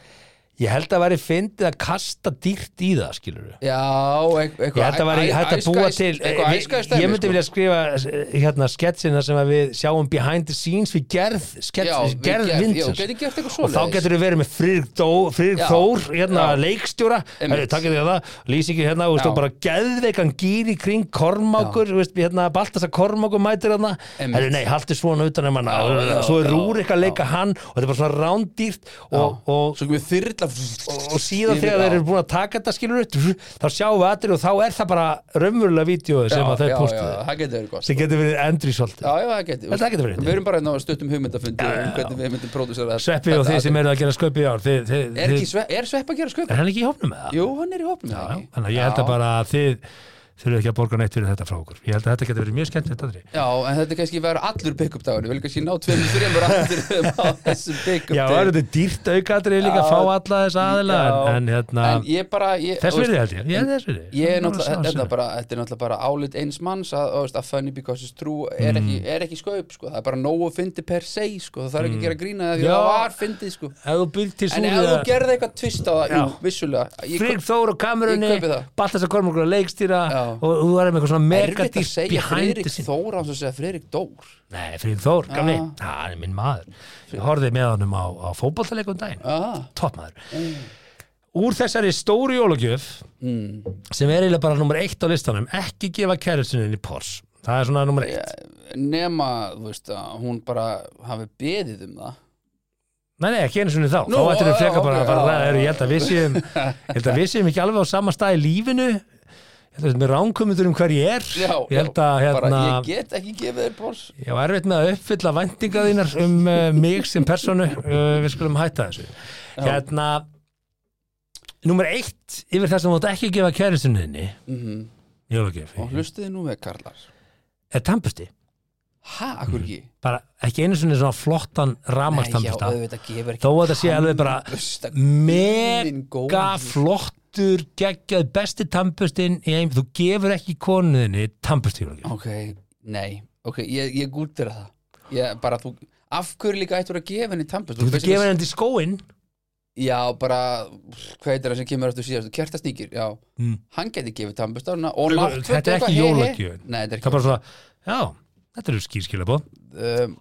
Ég held að væri fyndið að kasta dýrt í það, skilur við. já eitthvað Ég held að væri hægt að búa til, eitthvað sko. við, æskaði stæmi ég myndi vilja skrifa eh, hérna sketsina sem að við sjáum behind the scenes við gerð, skets, Já, við gerð gerð- já, Vincent. getur gert eitthvað og þá svoleiðis. getur við verið með Friðrik Dó- Friðrik Já, Þór, hérna já. leikstjóra, Einmitt. Herri, takk fyrir það, lýsingi hérna, þú veist, Já. og bara geðveikan gýri kring kormákur, þú veist, hérna Baltasar kormákur mætir hérna, Einmitt. herri, nei, haldi svona utan um hana, Já, já, svo er já, Rúrik að leika hann og þetta er bara svona rándýrt og, og svo við þyrla þetta og síðan Yfir, þegar þeir já. eru búin að taka þetta skilur upp þá sjáum við allir og þá er það bara raunverulega vídeo sem að þeir já, já, postuðu það getur verið gott sem getur verið endri svolítið Já, já, það getur Þetta það getur verið Við erum bara hérna á stuttum hugmyndafundi um hvernig við myndum pródúsera þetta. Sveppi og Þetta- þið sem eru að gera sköpi í ár þið, þið, Er, ekki þið, svepp, er svepp að gera sköp? er hann ekki í hófnum með það? Jú, hann er í hópnum Já, þannig að ég held að bara að þið þurfið ekki að borga neitt fyrir þetta frá okkur ég held að þetta getur verið mjög skemmtilegt aðri Já, en þetta er kannski verið allur pick-up dagur Við viljum kannski ná tveimur þreimur aftur á þessum pick-up Já, það eru þetta dýrt aukatri líka að Já. fá alla þess aðila en, en hérna, En ég bara ég, þess þú virði veist, held ég, ég er þess virði Ég er náttúrulega, þetta er bara, þetta er náttúrulega bara álit eins manns að, þú veist, að funny because it's true er ekki, Mm. er ekki sköp, sko, það er bara nógu fyndi per se, sko, það þarf ekki að gera grína því Já. það var fyndið, sko Ef þú byrð til En ef þú súðið gerði eitthvað tvist á það, jú, Já. vissulega ég- Frigg Þór og kamerunni, Ég kaupi það. Baltas að Kormungur að leikstýra Já. og þú erum eitthvað svona erfitt að megadís segja behind Friðrik the scene Þór hans að segja Friðrik Dór Nei, Frigg Þór, gamli, Já. það er minn maður Ég horfði með honum á, á fótballtaleikum daginn ah, toppmaður úr þessari stóru jólagjöf Mm. sem er eiginlega bara nummer eitt á listanum ekki gefa kæriðsinni í pors það er svona nummer eitt Eh, nema, þú veist, að hún bara hafi beðið um það Nei, nei, ekki einu sinni þá, Nú, þá ættir við já, freka bara ok, að fara að já, ræða, já, eru, ég held að við séum ég held að við séum ekki alveg á sama stað í lífinu ég held að við séum ránkomundur um hver ég er já, ég held að já, hérna, bara, ég get ekki gefið þér bors ég var erfitt með að uppfylla væntinga þínar um uh, mig sem personu uh, við skulum hætta þessu hérna nummer eitt yfir það sem þú átt ekki að gefa kæriðsinni mm -hmm. jólagjöf og hlustiði nú með Karlar er tampusti ha, akkur ekki bara ekki einu sinni svona flottan ramastampusta auðvitað gefur þó að þetta sé alveg bara Tampusta, guðminn góður. mega flottur geggjað besti tampustin í heim þú gefur ekki konuðinni tampustjóla ok, nei, ok, ég, ég gútir það ég bara, þú, af hverju líka ættur að gefa henni tampust þú getur gefur henni til skóinn já, bara, hvað heitir það sem kemur eftir síðast kertastíkir, já, Mm. hann geti gefið tampust á hana og Þetta náttföt er eitthvað, ekki hey, hey. jólagjöf. nei, það þetta er er ekki bara svona, já, þetta eru skýrskilabóð um,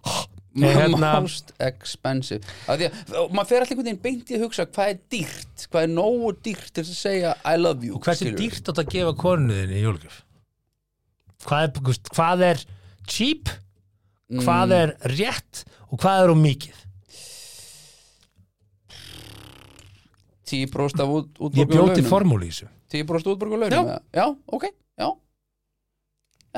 Ég hérna- most expensive Af því að og maður fer allir einhvern veginn beint í að hugsa hvað er dýrt, hvað er nógu dýrt til þess að segja I love you og hversu skilurðu. dýrt átt að gefa konuðinni í jólagjöf hvað er, þú veist, hvað er cheap Mm. hvað er rétt og hvað er um mikið 10% af út, ég útborguðu bjóti launum. formúli í þessu 10% útborgu launum já. já, ok, já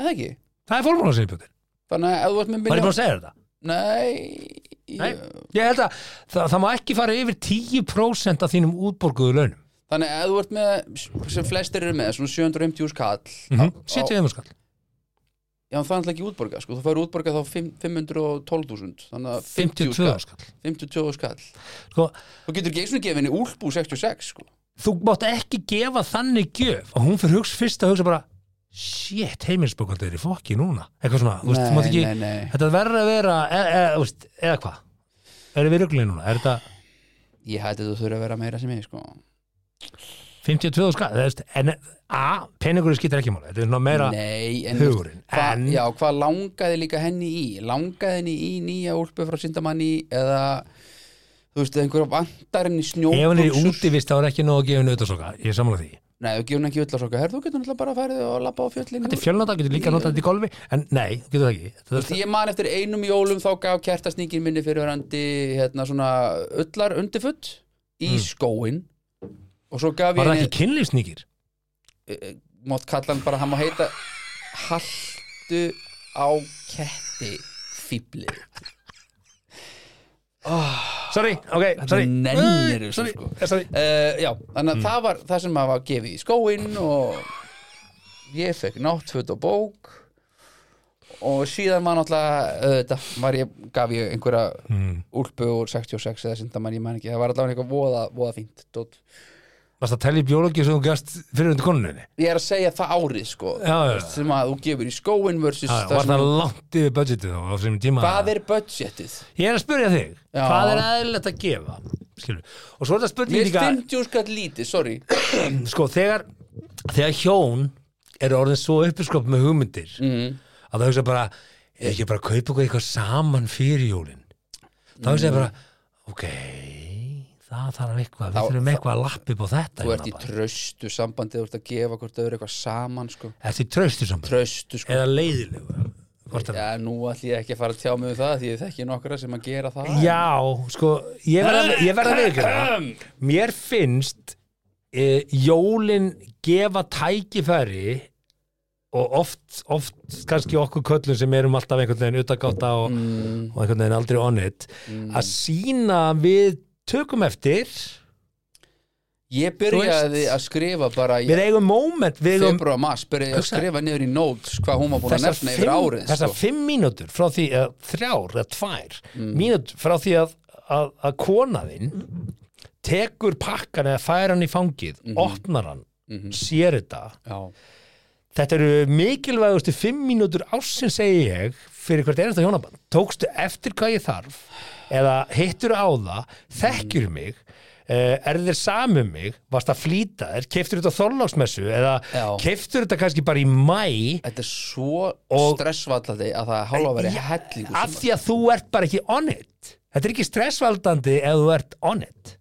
eða ekki, það er formúla sem ég bjóti, þannig að ef þú ert með var ég milljón búin að segja þetta nei, Nei, ég- ég held að það, það má ekki fara yfir 10% af þínum útborguðu launum þannig að ef þú ert með sem flestir eru með, svona 750 skall mm -hmm. þá- 70 skall já, það er alltaf ekki útborga, sko, þú fær útborga þá fimm- 512.000, þannig að 50 52 skall skall 52 skall sko, Þú getur ekki einu sinni gefið henni úlpú 66 sko. þú mátt ekki gefa þannig gjöf og hún fyrir hugsa fyrst að hugsa bara shit, heimilisbókaldið er í fokki núna eitthvað svona, þú veist, þú mátt ekki nei, nei. þetta verður að vera, e, e, þú veist, eða hvað erum við rugglið núna, er þetta Ég hætti þú þurfa að vera meira sem ég sko. 52 skall, þú veist, en a, peningurinn skýtar ekki máli, þetta er svona meira Nei, en, hugurinn, hva, en Já, hvað langaði líka henni í? Langaði henni í nýja úlpu frá sindamanni eða þú veist, einhverja vantar henni snjóbuxur ef hann er í útivist þá er ekki nóg að gefa henni auðvitaðsoka, ég er sammála því Nei, þú gefur henni ekki ullarsokka Herðu, þú getur náttúrulega bara að færið og labba á fjöllin Þetta er fjölnóta, getur líka notað þetta í golfi En nei, þú getur það ekki Þetta er- Ég man eftir einum jólum þá gaf kertasningin minni fyrirverandi hérna svona ullar undifutt í skóin og svo gaf Mm. Var ég það henni ekki kynlýfsnýkir? mátt kalla hann bara, hann má heita Haltu á ketti fýbli Sorry, ok, sorry nennir þessu, Sorry, sko. eh, sorry uh, Já, þannig Mm. að það var það sem maður var gefið í skóinn og ég fekk náttföt og bók og síðan var náttúrulega uh, þetta var ég, gaf ég einhverja Mm. úlpu úr 66 eða sindamann, ég man ekki það var allavega eitthvað voða, voða fínt dót. Varst það að telja í bjólogi sem þú gæst fyrir undir konuninni? ég er að segja það árið sko Já, já, já. sem að þú gefur í skóinn versus Já, já, það Ah, Var það sem, langt yfir budgetið þá á þessum tíma? hvað er budgetið Ég er að spyrja þig Já. Hvað er aðeinlegt að gefa? Skilur. Og svo er þetta Mér spurning finnst líka 50 skall lítið, sorry Sko, þegar, þegar hjón eru orðin svo uppiskop með hugmyndir mm. að það hugsa bara er ekki bara að kaupa eitthvað, eitthvað saman fyrir jólin þá hugsa ég bara ok, það þarf eitthvað Þá- við þurfum eitthvað að lappa upp á þetta Þú hérna ert í bara. tröstu sambandi Þú ert að gefa hvort öðru eitthvað saman sko. Ertu í traustu saman Tröstu sko. eða leiðilegu Hvort er það? Já, nú ætlum ég ekki að fara að tjá mig um það því ég þekki nokkra sem að gera það Já, sko, ég verða ég verð að viðkjöra Mér finnst e, jólin gefa tækifæri og oft, oft kannski okkur köllum sem erum alltaf einhvern veginn utagáta og, Mm. og einhvern veginn aldrei on it að sína við tökum eftir Ég Þú byrjaði veist. að skrifa bara í við eigum moment við eigum februar og mars byrjaði ég að Hugsa- skrifa niður í notes hvað hún var búin að þessar nefna yfir fimm- árið þessar sko. Mm. fimm mínútur frá því að þrjár eða tvær mínútur frá því að, að, að kona þinn tekur pakkan eða fær hann í fangið Mhm. opnar hann, sér þetta Já, þetta eru mikilvægustu fimm mínútur ásinn segi ég fyrir hvert einasta hjónaband tókstu eftir hvað ég þarf eða hittur á það þekkir mig Uh, er þér samum mig, varst að flýta þér keiftur þetta á þorláksmessu eða Já. keiftur þetta kannski bara í mæ þetta er svo Og- stressvallandi að það er hálfa að vera Já, hellingu af því að þú ert bara ekki on it þetta er ekki stressvaldandi ef þú ert on it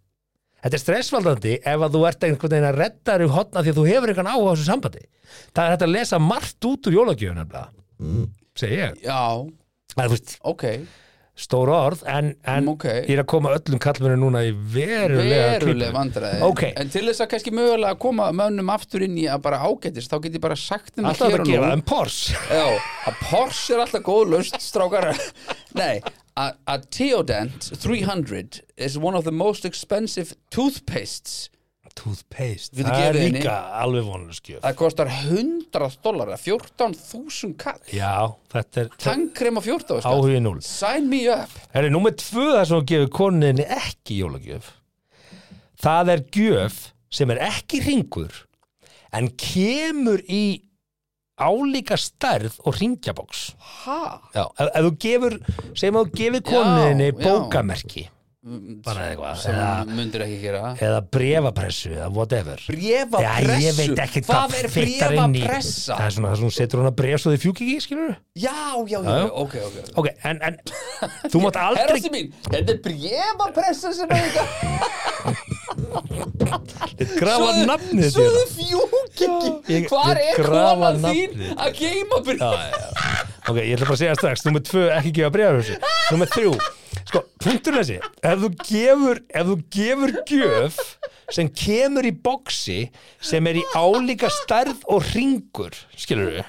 þetta er stressvaldandi ef að þú ert einhvern veginn að redda þér í hotna því að þú hefur einhvern áhuga á þessu sambandi það er hægt að lesa margt út úr jólagjöfun nefnilega Mm. segi ég Já, það er þú veist, ok stóra orð en, en Mm, ok. ég er að koma öllum kallmennu núna í verulega klípu. veruleg vandræði Ok. en til þess að kannski mögulega að koma mönnum aftur inn í að bara ágætist þá get ég bara sagt þeim alltaf að hér og gera nú. það en Porsche Já, að Porsche er alltaf góð löst, strákar. Nei, a, a Teodent 300 is one of the most expensive toothpastes. toothpaste, Við það er gefið henni. líka alveg vonuskjöf Það kostar 100 dollara, 14.000 kall. já, þetta er Tannkrem á 14 skall. áhugið núl Sign me up. Herri, númer tvö það sem hún gefur koninni ekki í jólagjöf Það er gjöf sem er ekki ringur en kemur í álíka stærð og ringjabóks Ha? Já, ef, ef þú gefur sem þú gefur koninni Já, já. bókamerki bara eitthvað Sem eða, mundir ekki gera. eða brefapressu eða whatever Brefapressu? Já, ég veit ekki Hvað er fittar inn í- bréfapressa? Það er svona það sem hún setur hún að bref svo þið fjúki ekki, skilur Já, já, já, já. já. ok, ok. Ok, en, en þú mátt aldrei Herrasti mín, þetta er brefapressa sem er þetta. grafa Svo þið- nafnið Svo þér. þið fjúk ekki. Ég- Hvar ég er grafa konan þín nafnið. að geima bref? Ok, ég ætla bara að segja strax, nummer tvö, ekki gefa bregðarhjósi Nummer þrjú, sko, punktur þessi Ef þú gefur, ef þú gefur gjöf sem kemur í boksi sem er í álíka stærð og ringur skilur við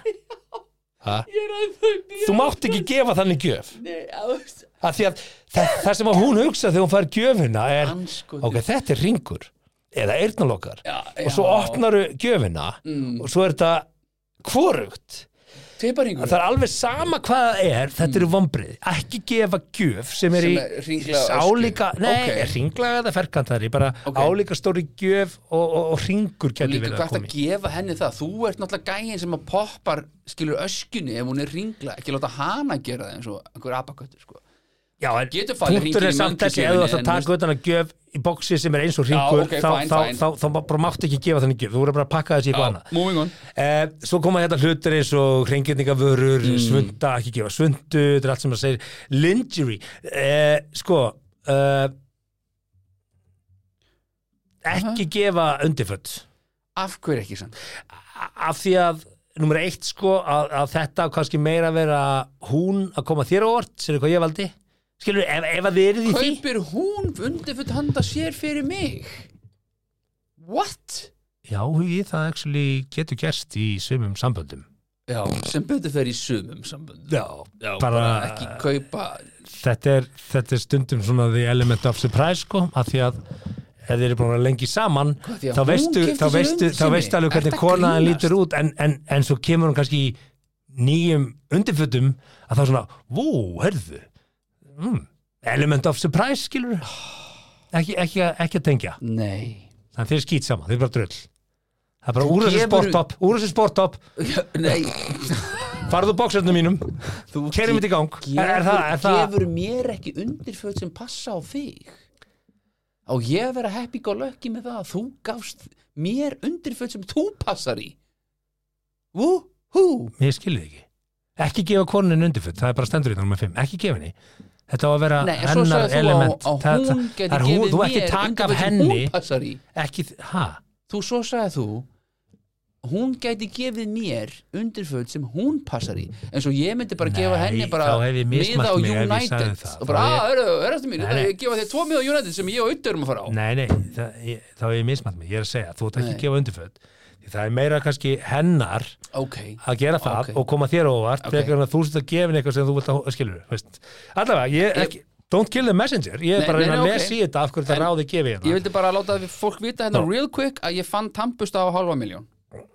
Ég er að þau Þú mátt ekki gefa þannig gjöf Nei, á- af því að það, það sem að hún hugsa þegar hún fær gjöfina er Andskotinn. ok, þetta er ringur eða eyrnalokkar Já, og svo já. Mm. opnaru gjöfina og svo er þetta hvorugt Teiparingur Það er alveg sama hvað það er, þetta eru vombrið. Ekki gefa gjöf sem er í Mm. Sem er hringlaga öskju. álíka, nei, Ok. okay. ringlaga eða ferkantari, bara Ok. álíka stóri gjöf og, og, og ringur getur Líka verið að hvað að koma í. gefa henni það Þú ert náttúrulega gæin sem að poppar skilur öskunni ef hún er ringla ekki láta hana gera það eins og einhver apaköttur sko. Já, en Getur farið punktur hringinn er í samt þessi, ef möndugjöfinni, þú ætti að en taka utan að gjöf í bóksi sem er eins og ringur, ok, þá, fine, þá, fine. þá, þá, bara máttu ekki gefa þannig gjöf, þú voru bara að pakka þessi í eitthvað annað. Moving on Eh, svo koma hérna hlutir eins og hrengjendingavörur, svunda, ekki gefa svundu, þetta er allt sem maður segir, lingerie, eh, sko, eh, ekki gefa undirföld, Af hverju ekki samt af því að, nummer eitt sko, að, að þetta á kannski meira að vera hún að koma þér á orð, sér hvað ég valdi, skilur, ef, ef að þið eruð í því, Kaupir hún undirfutt handa sér fyrir mig What? já, hugi, það actually getur gerst í sumum samböndum. Já, sem betur fer í sumum sambönd Já, Já, bara, bara ekki kaupa þetta er, þetta er stundum svona the element of surprise sko, af því að ef þeir eru búin að vera lengi saman því að þá hún veistu, keypti þá sér veistu, undir þá sinni. veistu alveg hvernig Ertu að konaðan grínast? lítur út en, en, en svo kemur hún kannski í nýjum undirfötum að þá svona, vó, herðu mm, element of surprise skilur ekki, ekki, að- ekki að tengja Nei þannig að þeir er skýt saman, þeir eru bara drull það er bara úr þessu gefur- sporttopp, úr þessu sporttopp Nei farðu bóksöndum mínum, Þú kerum þetta í gang er, er það, er það gefur mér ekki undirföt sem passa á þig á ég að vera happy go lucky með það að þú gafst mér undirföt sem þú passar í Woohoo Ég skilði ekki Ekki gefa konin undirfutt, það er bara stendur í númer 5 Ekki gefa henni Þetta á að vera Nei, en svo hennar sagði þú að, element að hún það geti er hún, gefið Þú mér ekki taka af undirföt sem henni hún passar í ekki, ha, þú svo sagði þú hún gæti gefið mér undirföld sem hún passar í en svo ég myndi bara gefa Nei, henni bara þá hef ég mismælt miða á mig ef ég sagði United það. og bara, "Ah, Þá að, er, er, er, mín, Nei, þetta, nei. ég gefa þér tvo miða á United sem ég og Auður erum að fara á Nei, nei, það, ég, þá er ég mismætt mig, ég er að segja, þú ert ekki Nei. að gefa undirföld Því það er meira kannski hennar ok, að gera það Ok. og koma þér á óvart Ok. okay. en að þú sett að gefa henni eitthvað sem þú vilt að skilur veist. Allavega, ég Ég- ekki Don't kill the messenger, ég er Nei, bara að nei, reyna að nei, lesa ok. í þetta af hverju það En ráði gefið hérna. ég vildi bara láta við fólk vita hérna real quick að ég fann tampusta á halva miljón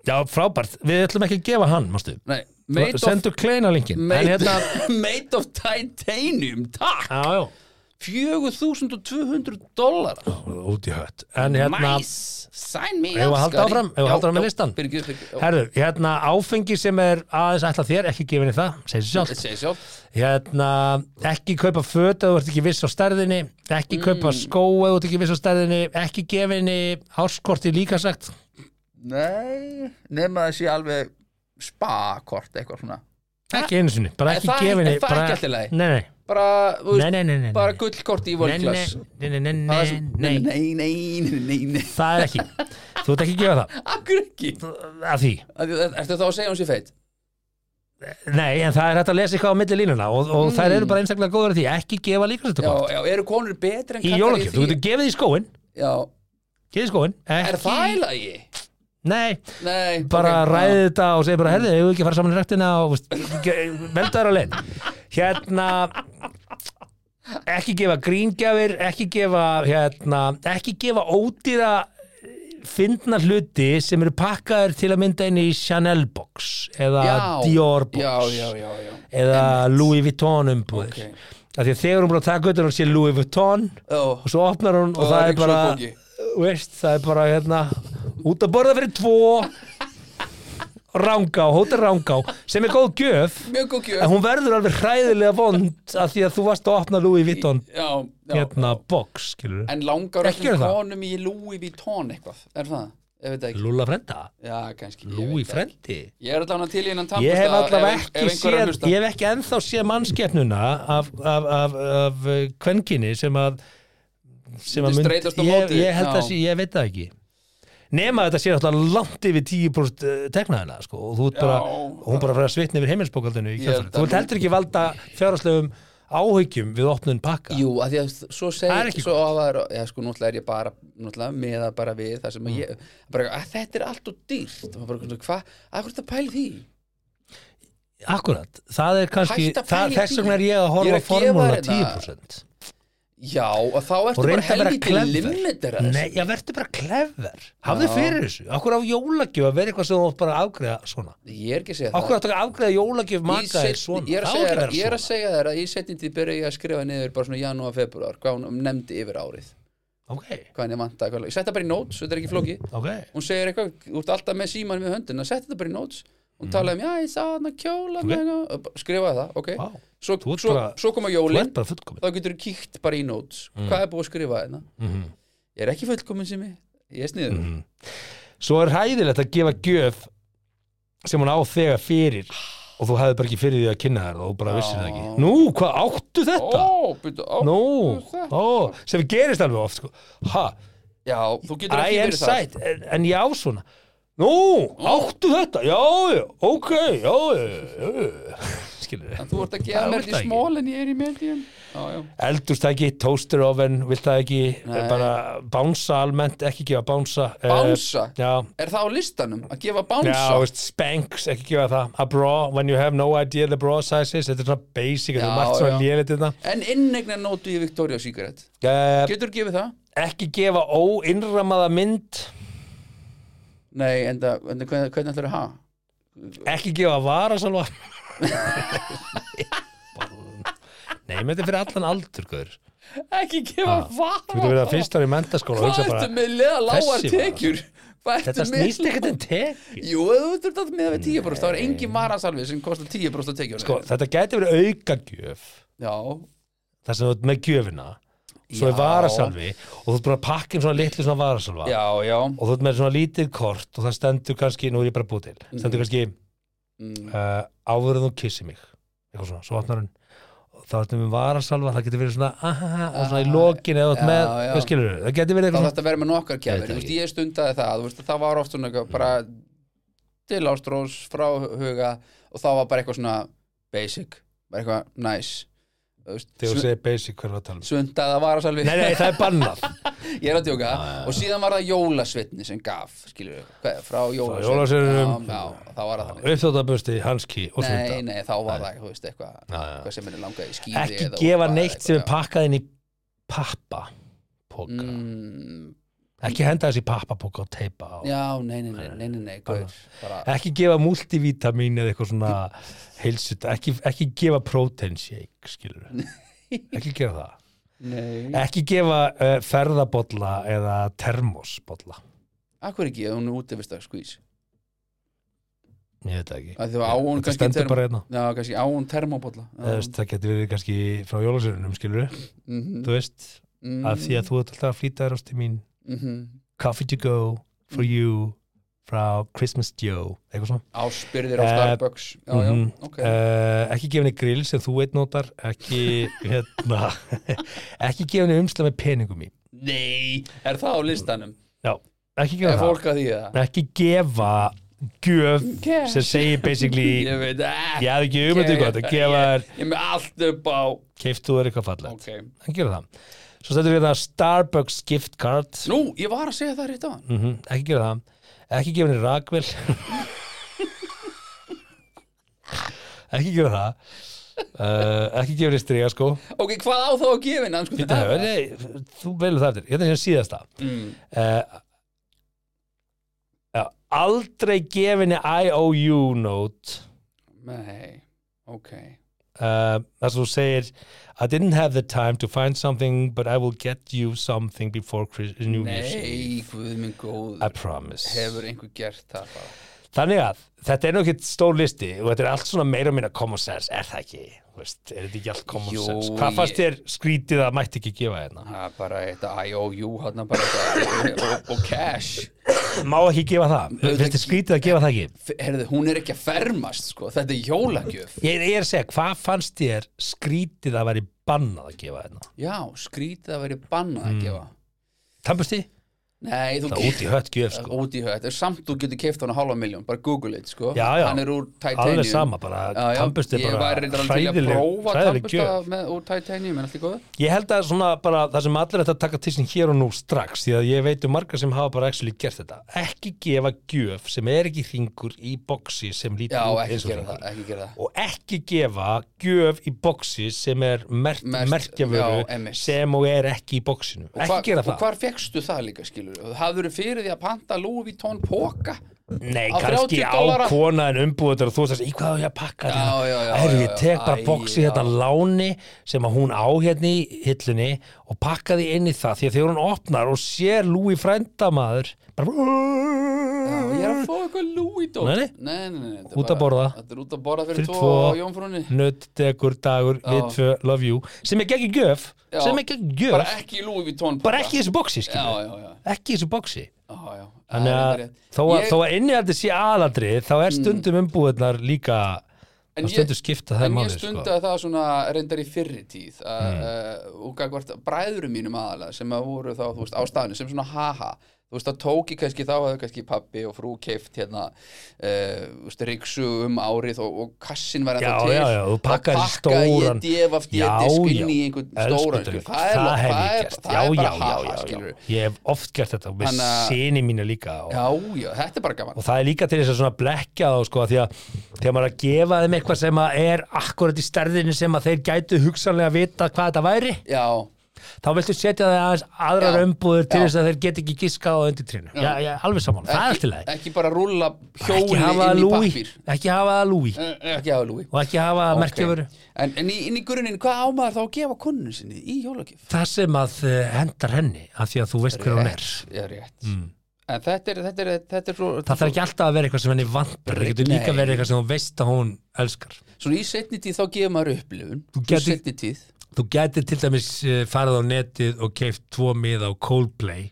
Já, frábært, við ætlum ekki að gefa hann, mástu nei, made of, Sendu kleina linkin En made, hérna, Ah. made of titanium takk, já, já, 4200 dólar út í hött En hérna, nice, sign me Eigum við up að halda Skari. áfram? Eigum við að Já, halda áfram með já, listann? byrgið, byrgið, já. herðu, hérna áfengi sem er aðeins ætla þér, ekki gefa henni það, segir sér sjálft Þetta segir sjálft. hérna, ekki kaupa föt ef þú ert ekki viss á stærðinni ekki Mm. kaupa skó ef þú ert ekki viss á stærðinni ekki gefa henni áskorti líka sagt Nei, nema það sé alveg spakort eitthvað svona ekki einu sinni, bara Er ekki það- gefa henni er það bara- ekki allt í lagi? nei, nei, bara, þú nei, veist, nei, nei, nei, bara gullkort í nei, nei, volklass nei, nei, nei, nei, nei, nei, nei, nei, nei, nei, nei. það er ekki þú ert ekki að gefa það, Akkur ekki að því Af því að- Ertu þá að segja hún sér feitt? nei, en það er hægt að lesa eitthvað á milli línuna og, og Mm. þær eru bara einstaklega góður því, ekki gefa líka sagt Já, kort já, eru konur betri en í kallar jólagjöf, þú getur því? gefið því skóin Já, gefið því skóin, er ekki það í lagi? nei, Nei bara ok, ræði þetta og segi bara herði, hefur ekki að fara saman í rektina og veldaður á leið hérna ekki gefa gríngjafir ekki gefa, hérna, ekki gefa ódýra eh, fyndna hluti sem eru pakkaður til að mynda inn í Chanel box eða já. Dior box Já, já, já, já eða Louis Vuitton umbúðir Ok. af því að þegar hún bara taka utan hún sé Louis Vuitton og Já, svo opnar hún og, Og það er bara ryksuga veist, það er bara hérna út að borða fyrir tvo rángá, hóttir rángá sem er góð gjöf mjög góð gjöf en hún verður alveg hræðilega vond af því að þú varst að opna Louis Vuitton Já, já hérna box, skilur En langar Ekki gera öllum það. konum í Louis Vuitton eitthvað Er það? Ég veit það ekki Lúla frenda, Já, kannski ég Louis veit það. frendi Ég er allavega til í innan Ég hef tannbursta allavega ef- ekki ef einhver er að séð, hlusta. ég hef ekki ennþá séð mannskeppnuna af, af, af, af kvenkinni sem að sem Myndi mynd- streitast á ég, móti, ég held að já. sé, ég veit það ekki nema þetta sé alltaf langt yfir 10% teknaðina sko, og þú ert bara, Já. hún bara fyrir að svitna yfir heimilsbókaldinu í Ég held kjölfarið, þú að- ert heldur ekki valda fjáraslegum áhyggjum við opnun pakka Jú, að því að svo Það er segir ekki svo að það er, já sko, náttúrulega er ég bara náttúrulega með að bara við það sem Mm. að ég bara, að þetta er allt og dýrt og maður bara, svona, hvað, að hvað er þetta pæli því? akkurat, það er kannski Hætt að það, pæla í þess því. vegna er ég að Ég er horfa að gefa formúla þér þetta. 10% Já, og þá ertu og bara reynda að vera helviti klefver limitera Nei, já, verður bara klefver Hafðu Já. fyrir þessu, okkur á jólagjöf að vera eitthvað sem þú átt bara að afgreða svona Ég er ekki að segja Okkur það átt að afgreða jólagjöf Í maka seinni- er svona Ég er að Það á segja ekki þér- ég er vera að segja þér að í setjum tíð byrja ég að skrifa niður bara svona janúar, februar, hvað hún um nefndi yfir árið svona Ok, hvað henni vantaði, hvað- ég setja bara í notes, þetta er ekki flóki ok hún segir eitthvað, þú ert alltaf með síman við höndin að setja þetta bara í notes hún talaði um, já, ég sá hann að kjóla Mhm. Ok. okay. skrifaði það, ok Vá. svo, Þú ert svo, bara- Mm. svo koma Þú jólin ert bara fullkomin þá getur þú kíkt bara í notes hvað er búið að skrifa hérna Mhm. ég er ekki fullkomin sem ég, ég er Mm. sniður Svo er hæðilegt að gefa gjöf sem hún á þegar fyrir og þú hafði bara ekki fyrir því að kynna þér það og þú bara vissir það Já. ekki Nú, hvað áttu þetta? ó, byrju, ó Nú, þetta. ó, sem gerist alveg oft sko. Ha, já, þú getur Æ, ekki en verið það sætt, en, en já svona Nú, áttu þetta, já, já, ok, já, já, já, já. skilur en við þú ert að gefa Það mér ert ekki. þetta í smól en ég er í medium já, já, Eldurstæki, toaster oven, vilt það ekki, eh, Nei. bara bánsa almennt, ekki gefa bánsa eh, bánsa Já, er það á listanum, að gefa bánsa já, veist, spanks, ekki gefa það A bra, when you have no idea the bra sizes, þetta er svona basic, þetta Já, er margt svona já. lélitt þetta en innegna nótu í Victoria Secret Eh, getur gefið það? Ekki gefa óinnramaða mynd, nei, en það, hvernig, hvernig ætlar það að hafa? ekki gefa varasalva Nei, menn þetta er fyrir allan aldur, guður ekki gefa Þú getur verið að vara fyrst ára í mentaskóla og hvað hugsa ertu bara, með lega lágar þessi vara? tekjur hvað þetta ertu með snýst ekkert um- en tek jú, þú ert alltaf með við 10% það er engin varasalvi sem kostar 10% tekjur sko, þetta gæti verið aukagjöf já, þar sem þú ert með gjöfina svo er Já. varasalvi og þú ert bara að pakka inn svona litlu svona varasalva já, já og þú ert með svona lítið kort og það stendur kannski, nú er ég bara búið til stendur kannski Mm. uh, áður en þú kissi mig eitthvað svona, svo opnar hann og þá ertu með varasalva, það getur verið svona aha, og svona í lokin eða þú ert Já, með, já. hvað skilur það getur verið þá eitthvað þetta verður með nokkar Veit það kefir, Mm. þú veist ekki. ég stundaði það þú veist, það var oft svona eitthvað bara til Ástrós frá huga og þá var bara eitthvað svona basic, bara eitthvað nice Þú veist, Þegar þú sund- segir basic, hvað er það að tala um? sundaða varasalvi Nei, nei, það er bannað ég er að djóka og síðan var það jólasveitni sem gaf skilur við, hvað- frá jólasveininum. jólasveitni já, já, þá var það þannig Uppþjóttabusti, hanski og sunda nei, nei, þá var það, þú veist, eitthvað já. eitthvað sem er langað í skýði Ekki gefa neitt sem er pakkað inn í pappa Póka mm, Ekki henda þessi pappapóka og teipa á já, nei, nei, nei, nei, nei, nei gaur, bara, Ekki gefa multivitamín eða eitthvað svona heilsut ekki, ekki gefa protein shake skilur Ekki gera það nei Ekki gefa uh, ferðabolla eða termosbolla akkur ekki, ef hún er úti við stakk skvís Ég veit það ekki Af því að á hún Þetta kannski stendur term- bara hérna já, kannski á hún termóbolla Eða, þú veist, það getur verið kannski frá jólasörunum skilur mhm, þú veist, Mm. að því að þú ert alltaf að flýta þér ástu mín mhm. coffee to go Mm. for you frá Christmas Joe eitthvað svona áspyrðir á Eh, Starbucks já, já, mhm. ok uh, ekki gefa henni grill sem þú eitt notar ekki hérna ekki gefa henni umslag með peningum í nei, er það á listanum? já, ekki er gefa það fólk að því það? ekki gefa gjöf Cash. sem segir basically ég veit ekki ég hafði ekki ummyndu gott að gefa þér ég er með allt upp á keiftu þér eitthvað fallegt ok ekki gera það svo stendur hérna Starbucks gift card nú, ég var að segja það rétt á hann mm ekki gera það ekki gefa henni rakvel ekki gera það uh, ekki gefa henni striga sko ok, hvað á þá að gefa hann sko, Bíddu, það- nei, þú velur það eftir hérna er sem síðasta Mm. uh, já, aldrei gefa henni IOU note nei, ok uh, þar sem þú segir I didn't have the time to find something but I will get you something before Chris, New Year's Eve nei, guð minn góð I promise hefur einhver gert það bara Þannig að þetta er nú ekkert stór listi og þetta er allt svona meira og minna common sense, er það ekki? Þú Veist, er þetta ekki allt common Jú, sense? Hvað fannst þér skrítið að mætti ekki gefa hérna? það er bara þetta IOU hann hérna bara þetta og, og cash Má ekki gefa það? Finnst þér skrítið að gefa það ekki? F- herðu, hún er ekki að fermast sko þetta er jólagjöf Ég ég er að segja, hvað fannst þér skrítið að væri bannað að gefa hérna? já, skrítið að veri bannað að gefa Tampusti? nei, þú Mm. Það út í hött gjöf, sko. út í hött, samt þú getur keift hann að hálfa miljón, bara google it sko Já, já. hann er úr Titanium Alveg sama, bara Já, já. tampusti ég er var bara reyndar alveg til að hræðileg, prófa hræðileg tampusta gjöf. með, úr Titanium, en allt í góð Ég held að svona bara það sem allir þetta taka til sín hér og nú strax því að ég veit um marga sem hafa bara actually gert þetta ekki gefa gjöf sem er ekki hringur í boksi sem lítur já, út ekki eins og gera hringur það, ekki gera það og ekki gefa gjöf í boksi sem er merkt, Merkt, já, merkjavöru einmitt. sem og er ekki í boksinu Og ekki hvar- gera og það hvar fekkstu það líka skilur hafður þú fyrir því að panta Louis Vuitton póka Nei, á kannski á 30 dollara? kona en umbúður og þú veist, í hvað á ég að pakka Já, þetta? já, já, Herru, já, ég já. tek bara Æ, boxi hérna já. láni sem að hún á hérna í hillunni og pakka því inn í það því að þegar hún opnar og sér Lúi frændamaður bara Já, Ah, ég er að fá eitthvað Louis Vuitton Nei, nei. nei, nei, nei, þetta er Út að bara- borða. þetta er út að borða fyrir Fyrir tvo tvo. á Jónfrúnni Nutt, degur, dagur, við tvö, love you sem er gegn gjöf, Já. sem er gegn gjöf bara bara ekki, ekki Louis Vuitton í þessu boxi, já, skiljum já, já, ekki í þessu boxi já, já. Þannig að Það er rétt. þó að, Ég- Mm. þó að innihaldi sé aðaldrið þá er stundum umbúðnar líka En þá ég- stundum skipta það en máli sko. ég stundaði það svona reyndar í fyrri tíð uh, Mm. uh, og gagvart bræðurum mínum aðalega sem að voru þá, þú veist, á staðinu sem svona haha, þú veist, það tók ég kannski þá hefði kannski pappi og frú keift hérna, uh, þú veist, riksu um árið og, og kassin var Já, ennþá til já, já, þú Þá pakkaðir í pakkaði stóran- ég defaft Já, ég disk já, inn í einhvern elsku stóran dreng, skilur. það, er- hef ég er- gert það já, er já, bara já, já, haha, já, skilur ég hef oft gert þetta með Hanna... Þannig að- sinni mínu líka og, Já, já, þetta er bara gaman og það er líka til þess að svona blekja þá sko, af því að þegar maður er að gefa þeim eitthvað sem að er akkurat í stærðinu sem að þeir gætu hugsanlega vita hvað þetta væri Já, þá viltu setja þeim aðeins aðrar Já, umbúður til já. þess að þeir get ekki giskað á undir trínu já, já, alveg saman, það er alltaf leið ekki bara rúlla ekki hjóli hafa inn í lúi, pappir ekki hafa lúi Ekki hafa lúi og ekki hafa okay. Ok. merkjaföru En, en í, inn í grunin, hvað á maður þá að gefa konunum sinni í jólagjöf? það sem að eh, hendar henni af því að þú veist hver hún er Mm. Já, rétt En þetta er, þetta er, þetta er svo, það þarf ekki alltaf að vera eitthvað sem henni vantar það getur líka Nei. verið eitthvað sem hún veist að hún elskar Svona í setni tíð þá gefur maður upplifun Þú Þú gæti- getur Setni tíð þú gætir til dæmis eh, farið á netið og keift tvo miða á Coldplay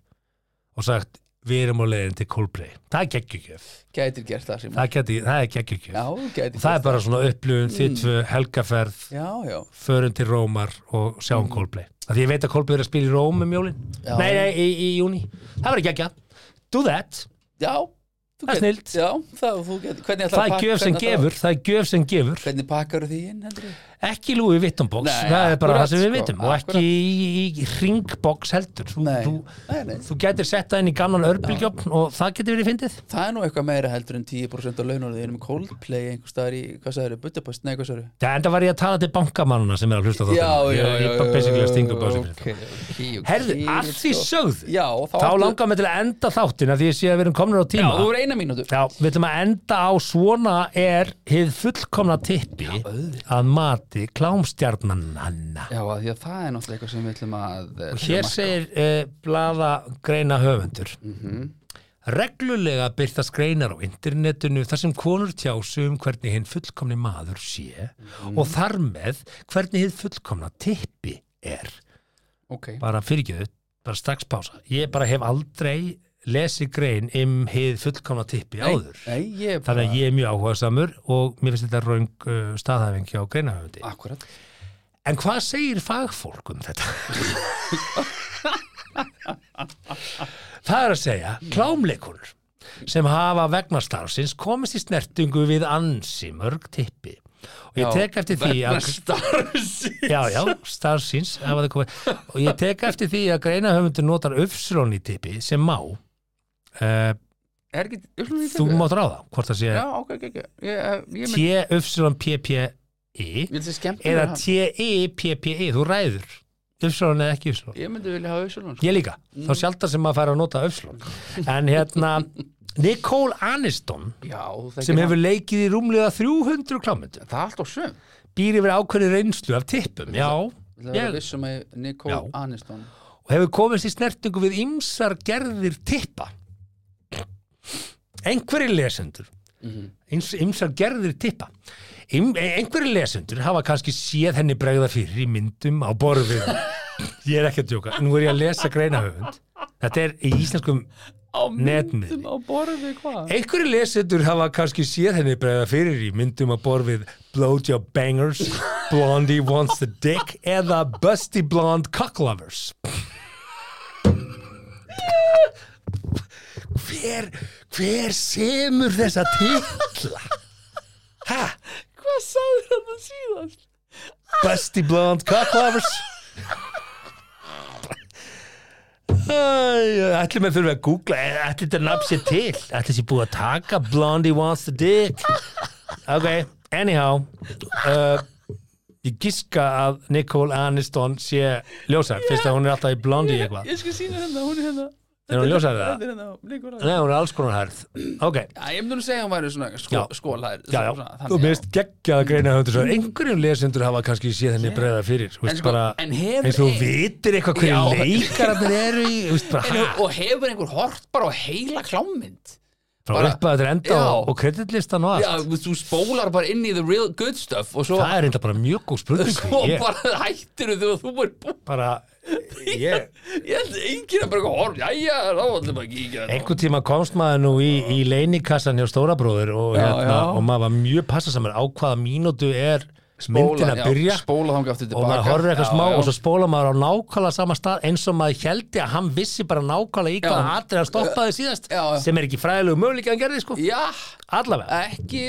og sagt við erum á leiðin til Coldplay það er geggjugjöf Gætir gert það sem það, gæti, það er geggjugjöf Já, gætir það er bara svona upplifun þitt tvö helgaferð Já, já förum til Rómar og sjáum Coldplay af því ég veit að Coldplay er að spila í Róm um jólin Já. nei, nei, í, í júni það verður geggjað do that Já, Það er snillt. Já, það, þú get, hvernig ætlar Það er gjöf sem gefur, það er gjöf sem gefur Hvernig pakkar því inn, heldur ekki í Louis Vuitton box, Nei, það er bara það akkurat, sem við sko, vitum og ekki í, í ringbox heldur þú, Nei. þú, Nei, nei. þú getur sett það inn í gamlan örbílgjöfn og það getur verið fyndið Það er nú eitthvað meira heldur en 10% af launum Við erum í Coldplay einhver staðar í, hvað sagður, Budapest, nei, hvað sagður Það enda var ég að tala til bankamannuna sem er að hlusta á Já, þáttunum. Ég- já, já, Ég bara já, basically já, að stinga upp á já, þessu ok, fyrir ok, ok, Herðu, að því sko. sögðu, Já, þá, þá áttu- langar mig til að enda þáttin að því ég sé að við erum komin á Já, tíma þú er eina mínútu Já, við ætlum að enda á svona er hið fullkomna tippi að mati klámstjarnananna Já, að því að það er náttúrulega eitthvað sem við ætlum að eh, og hér fjármagna. segir uh, bladagreina höfundur reglulega byrtast greinar á internetinu þar sem konur tjásu um hvernig hinn fullkomni maður sé og þar með hvernig hinn fullkomna tippi er Ok, bara fyrirgjöðu, bara strax pása ég bara hef aldrei lesið grein um hið fullkomna tippi áður nei, ég þannig að ég er mjög áhugaðsamur og mér finnst þetta raung uh, staðhæfing hjá greinahöfundi Akkurat En hvað segir fagfólk um þetta? það er að segja klámleikunur sem hafa vegna starfsins komist í snertingu við ansi mörg tippi og ég tek eftir því Vegna að starfsins já, já, starfsins hafa þau komið og ég tek eftir því að greina höfundur notar uppsrón í tippi sem má uh, Er ekki upplunni þú mátt ráða hvort það sé Já, ok, ok, ok Ég, eh, ég mynd t uppsrón ppi Ég myndi skemmt E eða E t-i-p-p-i þú ræður uppsrón eða ekki uppsrón Ég myndi vilja hafa sko. Össulun Ég líka, þá sjaldar sem maður fær að nota öfslokk En hérna Nicole Aniston Já, þú þekkir sem hann. hefur leikið í rúmlega 300 klámyndum Það er allt á söm býr yfir ákveðni reynslu af tippum já, Það ég, er vissum að Nicole Já. Aniston og hefur komist í snertingu við ymsar gerðir tippa einhverjir lesendur Mhm. ymsar gerðir tippa Ym, einhverjir lesendur hafa kannski séð henni bregða fyrir í myndum á borðið ég er ekki að djóka, nú er ég að lesa greinahöfund þetta er í íslenskum Á Netmiðli. á borðið hvað? Einhverju lesendur hafa kannski séð henni bregða fyrir í myndum að borð við Blowjob Bangers, Blondie Wants the Dick eða Busty Blonde Cock Lovers. Hver, hver semur þessa titla? Ha? Hvað sagði hann að síðast? Busty Blonde Cock Lovers? Æ, ætlum við þurfum að googla ætlum þetta nafn sér til ætlum sér búið að taka Blondie wants the dick ok, anyhow uh, ég giska að Nicole Aniston sé ljósar, fyrst að hún er alltaf í Blondie eitthvað, Ég skal sína hérna, hún er hérna er hún ljósar Þetta það? er hérna, Nicole Nei, hún er alls konar hærð ok, Já, ég myndi nú segja að hún væri svona Já. sko, skólaðir já, já, þú veist geggjað að greina höndur svo einhverjum lesendur hafa kannski séð henni bregða fyrir, þú En veist sko, bara en hefur- eins og þú vitir eitthvað Já. hverju leikararnir eru í, þú veist bara, En, hæ, og hefur einhver hort bara á heila klámynd frá bara- uppaður enda Já. og, og kreditlistan og allt Já, þú- þú spólar bara inn í the real good stuff og svo, það er enda bara mjög góð svo spurning ég, bara hættir þú þú er búinn bara, ég ég held enginn er bara eitthvað horf jæja, þá ætlum við að kíkja þetta. einhvern tíma komst maður nú í, í leinikassan hjá stórabróður og, Já, hérna, já. og maður var mjög passasamur á hvaða mínútu er myndin að já, byrja spóla þangað aftur og tilbaka maður horfir eitthvað smá já. og svo spóla maður á nákvæmlega sama stað eins og maður heldi að hann vissi bara nákvæmlega í hvaða Já. atrið hann stoppaði síðast Já, já. sem er ekki fræðilegu möguleik að hann gerði sko já, allavega ekki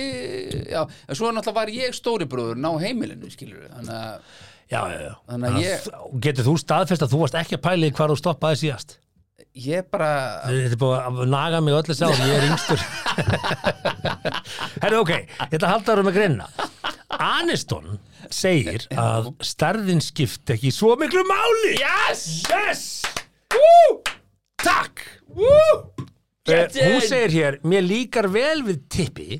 já, en svo náttúrulega var ég stóri bróður ná heimilinu, skilur við þannig að, já, já, já. Þannig að ég- Þannig að getur þú staðfest að þú varst ekki að pæla í hvar þú stoppaði síðast ég bara Þetta er búið að naga mig öllu sá ég er yngstur Herra ok, þetta haldar um að greina Aniston segir að stærðin skipt ekki svo miklu máli yes, Yes! wú, Takk! wú Eh, Get in! Mhm. Hún segir hér, mér líkar vel við tippi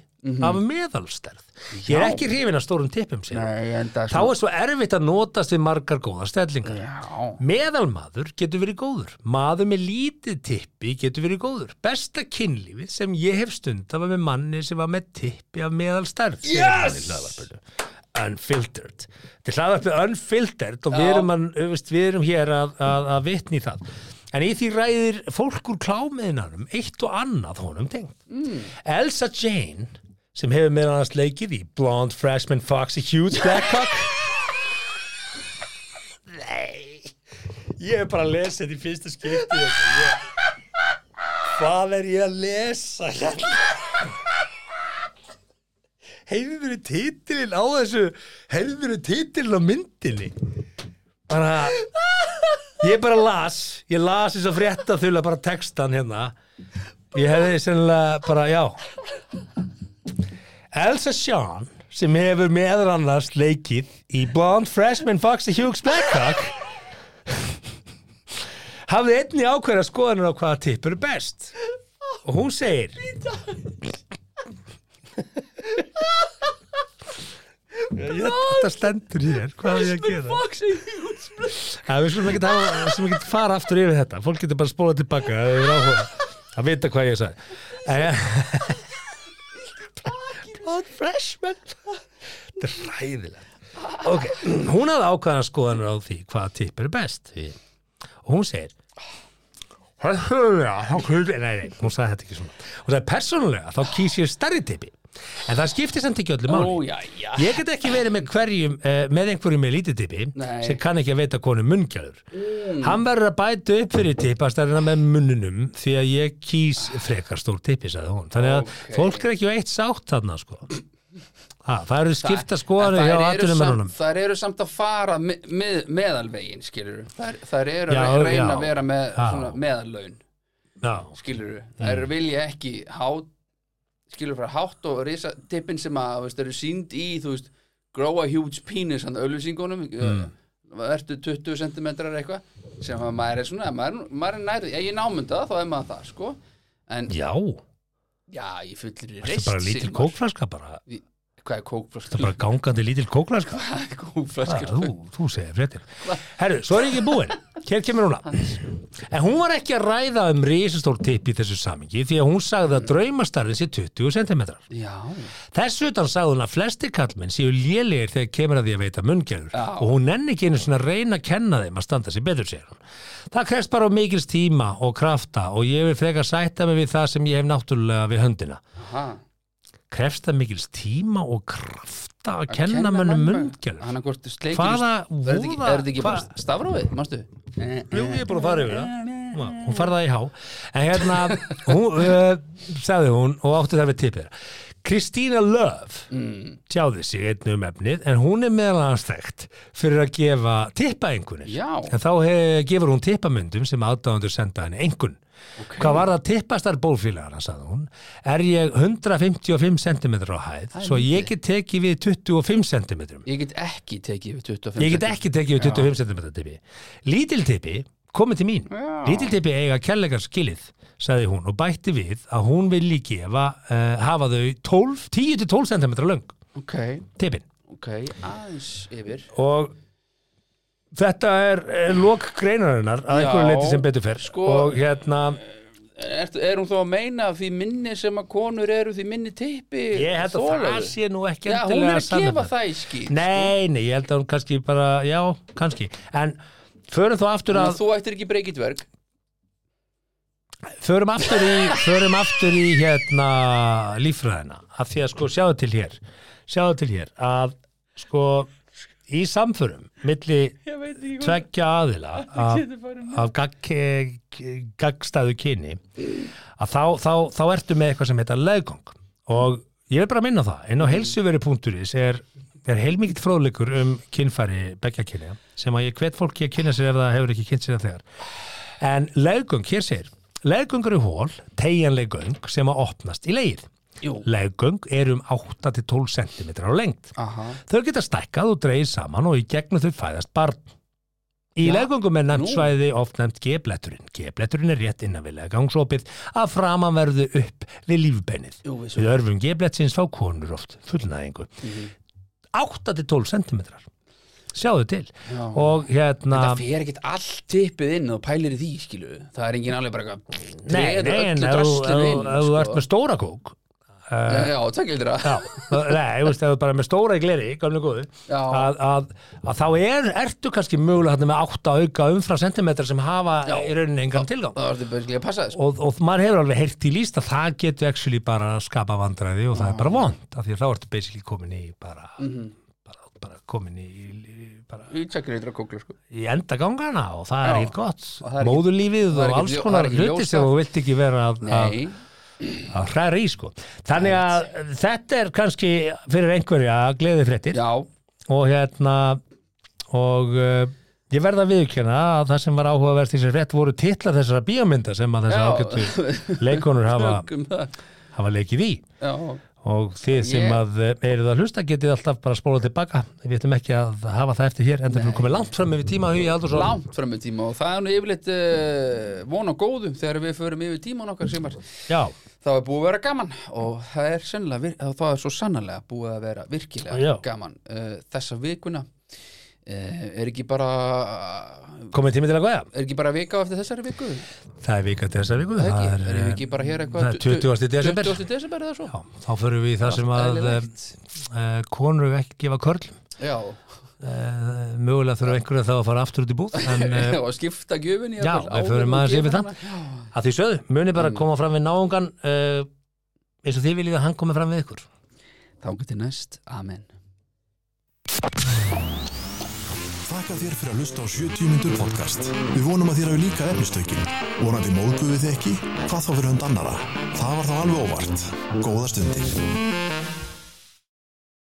af meðalstærð Ég er Já. ekki hrifin af stórum tippum sér nei, en það Þá er svo erfitt að notast við margar góða stellingar já, Meðalmaður getur verið góður. Maður með lítið tippi getur verið góður. Besta kynlífi sem ég hef stund var með manni sem var með tippi af meðalstærð. segir hann í hlaðvarpinu. Unfiltered. Þetta er hlaðarpið unfiltered og við Já. erum, að, veist, við erum hér að, að, að vitni í það. En í því ræðir fólk úr klámiðinanum eitt og annað honum tengt. Mm. Elsa Jane sem hefur meðan hans leikið í Blonde, Freshman, Foxy, Huge, Blackcock Ég hef bara lesið þetta í fyrsta skipti Hvað er ég að lesa hérna? heyrður titilinn á þessu heyrður titilinn á myndinni bara ég bara las, ég las þess að frétta þula bara textan hérna ég hefði sennilega bara, já Elsa Sean sem hefur meðal annars leikið í Blonde Freshman Foxy Hughes Blackhawk hafði einni ákveðra skoðanur á hvaða tippur er best og hún segir Ég, þetta stendur hér, hvað er ég að gera? Ja, við skulum ekki, hafa, við skulum ekki fara aftur yfir þetta Fólk getur bara að spóla tilbaka ef þau eru áhuga að vita hvað ég sagði En- Blood freshman Þetta er ræðilegt Ok, hún hafði ákvæðan skoðanur á því hvaða tipp er best því. og hún segir Persónulega, þá kýs Nei, nei, hún sagði þetta ekki svona Hún sagði persónulega, þá kýs ég stærri tippi En það skiptir samt ekki öllu máli Ó, já, já Ég get ekki verið með hverjum eh, með einhverjum með lítið tippi Nei. Mm. sem kann ekki að veita konum munnkjæður Hann verður að bæta upp fyrir tippastærina með munnunum því að ég kýs frekar stór tippi, sagði hún Þannig að Ókei. fólk er ekki á eitt sátt þarna sko ha, Það eru skipta En skoðanir hjá þær eru samt- aturumennunum Þær eru samt að fara með, með, meðalvegin, skilur þær, þær eru Já, að reyna já. að vera með Já. svona, meðallaun, Já, skilur Þær Mm. vilja ekki hát skilur frá hátt og risa tippin sem að þú veist, eru sínd í, þú veist grow a huge penis, hann öllusingunum mm. ertu 20 cm eitthvað sem að maður er svona maður, maður er nærið, ef ég námynda það, þá er maður það sko, en já, já ég fullir Það er bara lítil kókflaska bara hvað er Það er bara kókflöskur? gangandi lítil kókflaska Ah, kókflöskur þú, þú segir fréttir Herru, svo er ég ekki búinn, hér kemur hún að En hún var ekki að ræða um risastór tipp í þessu samingi því að hún sagði að draumastarfin sé 20 cm já Þess utan sagði hún að flestir kallmenn séu lélegir þegar kemur að því að veita munngerður Já. og hún nenni ekki einu svona að reyna að kenna þeim að standa sér betur sér hún Það krefst bara mikils tíma og krafta og ég vil frekar sætta mig við það sem ég hef náttúrulega við höndina ha, Krefst það mikils tíma og krafta að kenna mönnum munngerður hann er hvort sleikir Hvaða er þetta ekki, voða- er þetta hvað- ekki bara stafrófið, manstu Eh, Jú, ég er búin að fara yfir það. Já, Hún farði það í há. En hérna, hún, uh, sagði hún og átti það við tippir. Kristína Love Mm. tjáði sig einn um efnið en hún er meðal annars þekkt fyrir að gefa tippa einhvernir. Já. En þá hef, gefur hún tippamyndum sem aðdáðandur senda henni einhvern. Hvað var það tippastar bólfélagana, sagði hún, er ég 155 cm á hæð, er svo ég get tekið við 25 cm. ég get ekki tekið við 25 Ég get ekki tekið við 25 cm tippi. Lítil tippi komið til mín. Lítil tippi eiga kærleikar skilið, sagði hún og bætti við að hún vilji gefa, uh, hafa þau 12, 10-12 cm löng ok, tippin. ok, aðeins yfir Og þetta er, er lok greinarinnar að Já, einhverju leiti sem betur fer. sko- og hérna, er, er hún þó að meina að því minni sem að konur eru því minni tippi ég held að það þolir? sé nú ekki já, hún er að sanna gefa það. það í skýt Nei, nei, ég held að hún kannski bara, já, kannski. En förum þá aftur að... þú ættir ekki breykitverk förum aftur í, förum aftur í hérna líffræðina af því að sko sjáðu til hér sjáðu til hér að sko í samförum milli tveggja aðila af, af gag, gagstæðu kyni að þá, þá, þá ertu með eitthvað sem heitar leðgong og ég vil bara minna á það inn á heilsuveri.is er, er heilmikið fróðleikur um kynfæri beggja kynja sem að ég hvet fólki að kynna sér ef það hefur ekki kynnt sér það þegar En leggöng, hér segir, leggöng eru hól, tegjanleg göng sem að opnast í leið. Jú. Leggöng eru um 8-12 cm á lengt. aha, Þau geta stækkað og dreigð saman og í gegnum þau fæðast barn. Í Já, leggöngum er nefnt nú. svæði oft nefnt gebletturinn. Gebletturinn er rétt innan við leggangsopið að framan verðu upp við lífbeinið. jú, við Við svo örfum gebletsins fá konur oft fullnæðingu. Mhm. 8-12 cm. Sjáðu til. Já. Og hérna... Það fer ekkert allt tippið inn og pælir í því, skilu. Það er engin alveg bara eitthvað... Nei, treður nei, en ef öllu þú- draslinu ef inn, þú- ef þú sko. ert með stóra kók Já, já, takk heldur að Já, nei, þú veist, ef þú bara með stóra í gleri, gamlega góðu Já. að, að, að þá er, ertu kannski mögulega þarna með átta auka umfra sentimetra sem hafa Já. í rauninni engan tilgang það varstu bara sko. að passa þess og, og maður hefur alveg heyrt í líst að það getur actually bara að skapa vandræði og það er Mm. bara vond, af því að þá ertu basically komin í bara, Mhm. bara, bara komin í, í bara, Ég tjekkir eitthvað kókla sko í endagangana og það er Já. ekki gott, Og það er ekkert- móðulífið það er og ekkert alls ljó- það konar er ekkert hluti ljóst sem að- þú vilt ekki vera að, að Nei, að hræra í sko þannig að þetta er kannski fyrir einhverja gleði fréttir Já, og hérna og uh, ég verða að viðkjöna að það sem var áhugavert í sér rétt voru titlar þessara bíómynda sem að Já. þessar ágættu leikonur hafa, um það hafa leikið í Já, og þið sem Ég- að eh, eruð að hlusta getið alltaf bara að spóla tilbaka við ætlum ekki að hafa það eftir hér en það er komið langt fram yfir tíma hugi aldur svo langt fram með tíma og það er nú yfirleitt uh, von og góðum þegar við förum yfir tíman okkar sem já, þá er búið að vera gaman og það er, sennilega vir- þá er svo sannlega búið að vera virkilega Já. gaman uh, þessa vikuna uh, er ekki bara komið tími til að góða er ekki bara vika á eftir þessari viku það það er vikað til þessar viku er það ekki, er, erum við eh, ekki bara hér það eitthvað er 20. desember. 20. desember eða svo já, þá förum við í það sem að eh, Eðlilegt. eh, konur ekki gefa körlum já, Eh, mögulega þurfa einhverja þá að fara aftur út í búð en eh, og skipta gjöfin Já, við förum aðeins yfir það. að því sögðu, muni bara koma fram við náungan uh, eins og þið viljið að hann komi fram við ykkur þá getur næst, amen Þakka þér fyrir að hlusta á 70 mínútur podcast. Við vonum að þér hafi líka efnistökin. Vonandi móðguðu þið ekki, hvað þá fyrir hund annara. Það var þá alveg óvart. Góða stundir.